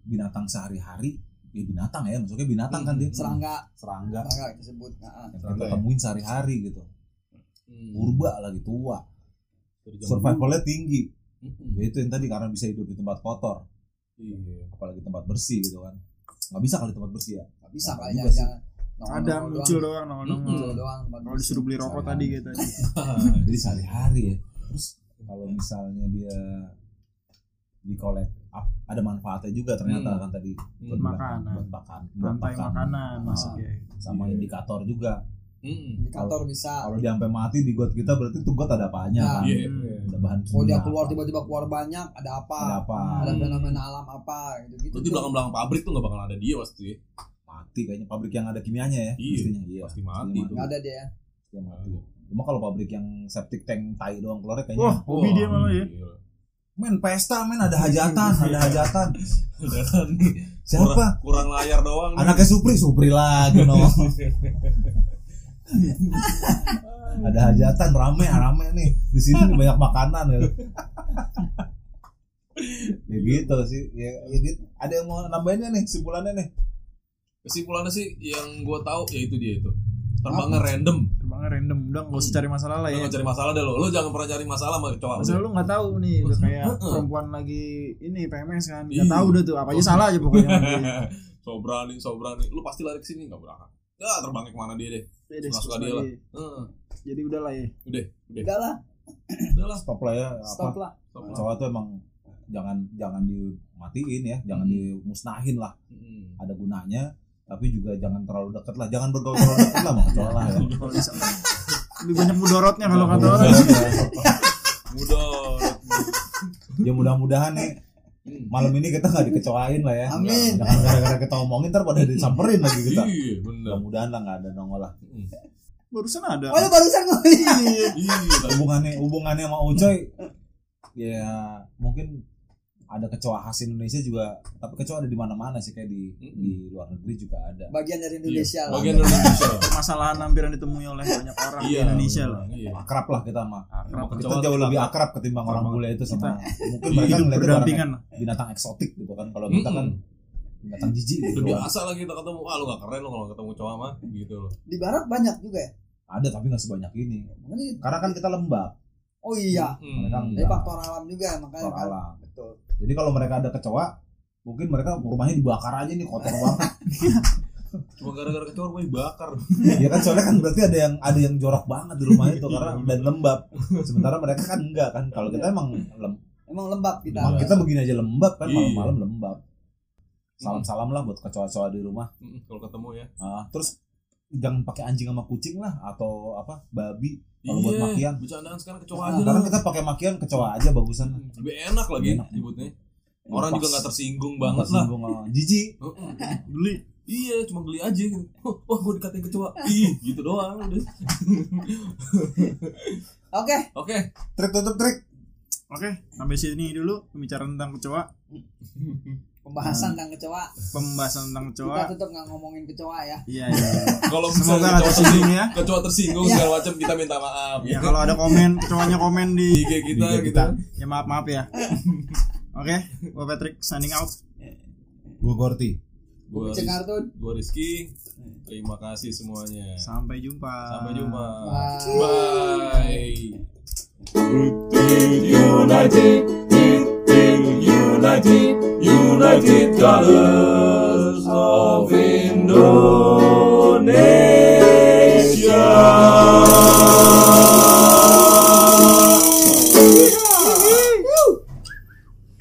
Speaker 4: binatang sehari-hari ya binatang ya maksudnya binatang kan dia
Speaker 2: serangga
Speaker 4: serangga
Speaker 2: serangga disebut nah,
Speaker 4: yang kita temuin sehari-hari gitu purba lagi tua
Speaker 3: Dari zaman dulu.
Speaker 4: survivalnya tinggi
Speaker 3: Mm-mm.
Speaker 4: ya itu yang tadi karena bisa hidup di tempat kotor
Speaker 3: Iya.
Speaker 4: apalagi tempat bersih gitu kan nggak bisa kali tempat bersih ya
Speaker 2: nggak bisa
Speaker 4: Apa
Speaker 2: kali
Speaker 4: juga
Speaker 2: ya
Speaker 4: sih? Hmm.
Speaker 2: jangan Nongol-
Speaker 1: Ada
Speaker 2: nongol
Speaker 1: muncul
Speaker 2: doang.
Speaker 1: doang
Speaker 3: Mm-mm.
Speaker 1: nongol-nongol.
Speaker 2: Muncul doang tempat
Speaker 1: Kalau disuruh beli rokok tadi gitu, kayak tadi.
Speaker 3: Hmm.
Speaker 4: jadi sehari-hari ya terus kalau misalnya dia dikolek up, ada manfaatnya juga ternyata
Speaker 3: Hmm.
Speaker 4: kan tadi
Speaker 3: Hmm.
Speaker 1: Makanan.
Speaker 4: buat makan buat
Speaker 1: Rantai
Speaker 4: makan.
Speaker 1: makanan masuk ya.
Speaker 4: sama
Speaker 3: Iya.
Speaker 4: indikator juga
Speaker 3: Mm-mm.
Speaker 2: indikator bisa
Speaker 4: kalau dia sampai mati di got kita berarti tuh got ada apanya
Speaker 2: Ya.
Speaker 4: kan
Speaker 3: Iya.
Speaker 4: ada bahan kimia
Speaker 2: kalau dia keluar
Speaker 4: apa.
Speaker 2: tiba-tiba keluar banyak ada apa
Speaker 4: Iya. ada apa
Speaker 2: ada
Speaker 3: Hmm.
Speaker 2: fenomena alam apa gitu gitu
Speaker 3: Berarti belakang-belakang pabrik tuh nggak bakal ada dia pasti ya.
Speaker 4: mati kayaknya pabrik yang ada kimianya ya
Speaker 3: Iya.
Speaker 4: pastinya iya
Speaker 3: Pasti mati tuh. Iya.
Speaker 2: nggak ada dia ya.
Speaker 4: Pasti mati. cuma kalau pabrik yang septic tank tai doang keluarnya kayaknya
Speaker 1: Wah, hobi
Speaker 3: Wah,
Speaker 1: dia malah ya.
Speaker 3: gila.
Speaker 4: men pesta men ada hajatan ada
Speaker 1: [laughs]
Speaker 4: hajatan
Speaker 3: Beneran nih. Kurang,
Speaker 4: siapa
Speaker 3: kurang layar doang. nih.
Speaker 4: anaknya Supri Supri lagi
Speaker 2: [laughs]
Speaker 4: no ada hajatan rame ah, rame nih di
Speaker 2: [laughs]
Speaker 4: sini nih banyak makanan ya ya gitu sih ya, ya gitu. ada yang mau nambahinnya nih simpulannya nih
Speaker 3: kesimpulannya sih yang gue tahu ya itu dia itu terbangnya random
Speaker 1: Terbangnya random, udah nggak usah cari masalah
Speaker 4: Iya,
Speaker 1: lah
Speaker 3: lo
Speaker 1: ya.
Speaker 3: jangan cari masalah deh lo lo jangan pernah cari masalah sama kecoa
Speaker 1: Masalah lu nggak tahu nih, udah kayak
Speaker 3: Heeh.
Speaker 1: perempuan lagi ini PMS kan,
Speaker 3: Iya.
Speaker 1: nggak tahu udah tuh, apa aja salah aja
Speaker 3: [laughs]
Speaker 1: pokoknya.
Speaker 3: [laughs]
Speaker 1: Iya,
Speaker 3: so berani so berani lo pasti lari kesini nggak berangkat ya terbangnya kemana dia deh
Speaker 1: Udah deh,
Speaker 3: Suka-suka
Speaker 1: suka
Speaker 3: dia
Speaker 1: lagi.
Speaker 3: lah. Heeh.
Speaker 1: Jadi udah lah ya.
Speaker 3: udah udah
Speaker 2: udah lah
Speaker 3: udah lah
Speaker 4: stop lah ya
Speaker 2: stop
Speaker 4: apa
Speaker 2: lah
Speaker 3: Stop lah.
Speaker 4: cowok tuh emang jangan jangan dimatiin ya jangan
Speaker 2: Hmm.
Speaker 4: dimusnahin lah
Speaker 3: Mm.
Speaker 4: ada gunanya tapi juga jangan terlalu deket lah jangan bergaul terlalu deket lah sama kecoa lah
Speaker 2: [laughs]
Speaker 4: ya
Speaker 1: Kalau bisa. Lebih banyak mudorotnya kalau kata orang.
Speaker 3: mudah
Speaker 4: ya mudah-mudahan nih
Speaker 3: Hmm.
Speaker 4: malam ini kita nggak dikecoain lah ya
Speaker 2: Amin.
Speaker 4: jangan gara-gara kita omongin ntar pada disamperin lagi kita
Speaker 3: iya bener
Speaker 4: mudah-mudahan lah nggak ada nongol lah
Speaker 3: Mm.
Speaker 1: Barusan ada.
Speaker 2: oh lu barusan ngomongin
Speaker 3: iya tapi-
Speaker 4: hubungannya hubungannya sama Ucoy ya mungkin ada kecoa khas Indonesia juga tapi kecoa ada di mana-mana sih kayak di di luar negeri juga ada
Speaker 2: bagian dari Indonesia lah
Speaker 3: Iya, bagian
Speaker 4: [laughs]
Speaker 3: Indonesia
Speaker 1: Permasalahan hampir yang ditemui oleh banyak orang di
Speaker 3: iya
Speaker 1: Indonesia lah.
Speaker 3: iya
Speaker 4: akrab lah kita mah
Speaker 1: Akrab.
Speaker 4: kita jauh lebih akrab ketimbang orang
Speaker 3: Sama.
Speaker 4: bule itu sama mungkin mereka
Speaker 1: Hidup
Speaker 4: ngeliatnya barang
Speaker 3: ya.
Speaker 1: berdampingan lah.
Speaker 4: binatang eksotik gitu kan kalau kita kan binatang jijik
Speaker 3: udah
Speaker 4: gitu kan.
Speaker 3: biasa lah kita ketemu ah lo gak keren lo kalau ketemu cowok mah gitu lo
Speaker 2: di barat banyak juga ya
Speaker 4: ada tapi nggak sebanyak ini
Speaker 2: Makanya-
Speaker 4: karena kan kita lembab
Speaker 2: oh iya
Speaker 4: mereka
Speaker 3: Mm.
Speaker 2: dari faktor alam juga makanya
Speaker 4: faktor
Speaker 2: kan
Speaker 4: alam
Speaker 2: betul
Speaker 4: Jadi kalau mereka ada kecoa, mungkin mereka rumahnya dibakar aja nih kotor banget.
Speaker 3: cuma gara-gara kecoa rumahnya bakar
Speaker 4: ya kan soalnya kan berarti ada yang ada yang jorok banget di rumahnya itu karena
Speaker 3: [laughs]
Speaker 4: dan lembab. Sementara mereka kan enggak kan. Kalau kita emang lem,
Speaker 2: emang lembab kita
Speaker 4: emang kita begini aja lembab kan
Speaker 3: Iya.
Speaker 4: malam-malam lembab. Salam-salam lah buat kecoa-kecoa di rumah.
Speaker 3: Mm, kalau ketemu ya
Speaker 4: Ah, terus jangan pakai anjing sama kucing lah atau apa babi kalau buat
Speaker 3: Iya,
Speaker 4: makian. Nah,
Speaker 3: bercandaan sekarang kecoa
Speaker 2: Ah,
Speaker 3: aja
Speaker 4: Karena
Speaker 3: lah.
Speaker 4: kita pakai makian kecoa aja bagusan.
Speaker 3: Hmm, lebih enak lagi
Speaker 4: Enak.
Speaker 3: nyebutnya orang juga nggak tersinggung banget lah
Speaker 4: tersinggung sama Jijik.
Speaker 3: Heeh.
Speaker 1: Beli.
Speaker 3: iya cuma geli aja gitu wah gue dikatain kecoa ih gitu doang udah
Speaker 2: oke
Speaker 3: oke
Speaker 4: Trik tutup trik.
Speaker 1: Oke, sampai sini dulu pembicaraan tentang kecoa,
Speaker 2: pembahasan tentang kecoa
Speaker 1: pembahasan tentang kecoa.
Speaker 2: kita tetap nggak ngomongin kecoa ya
Speaker 1: Iya, iya.
Speaker 3: kalau
Speaker 1: Semoga
Speaker 3: misalnya
Speaker 1: nggak
Speaker 3: kecoa
Speaker 1: tersinggung
Speaker 3: tersinggung
Speaker 1: ya.
Speaker 3: kecoa tersinggung segala macam kita minta maaf
Speaker 1: Ya kalau ada
Speaker 3: [laughs]
Speaker 1: komen, cowoknya komen
Speaker 3: Di
Speaker 1: di
Speaker 3: IG kita
Speaker 4: Di IG
Speaker 3: gitu
Speaker 4: kita.
Speaker 1: ya maaf maaf ya. [laughs] Oke, gua Patrick signing out.
Speaker 4: Gue gorti.
Speaker 3: gue
Speaker 2: cengar tuh
Speaker 3: gue Rizky terima kasih semuanya
Speaker 1: Sampai jumpa.
Speaker 3: sampai jumpa
Speaker 2: Bye.
Speaker 3: bye
Speaker 5: United, United, United, United.
Speaker 3: United Colors of India.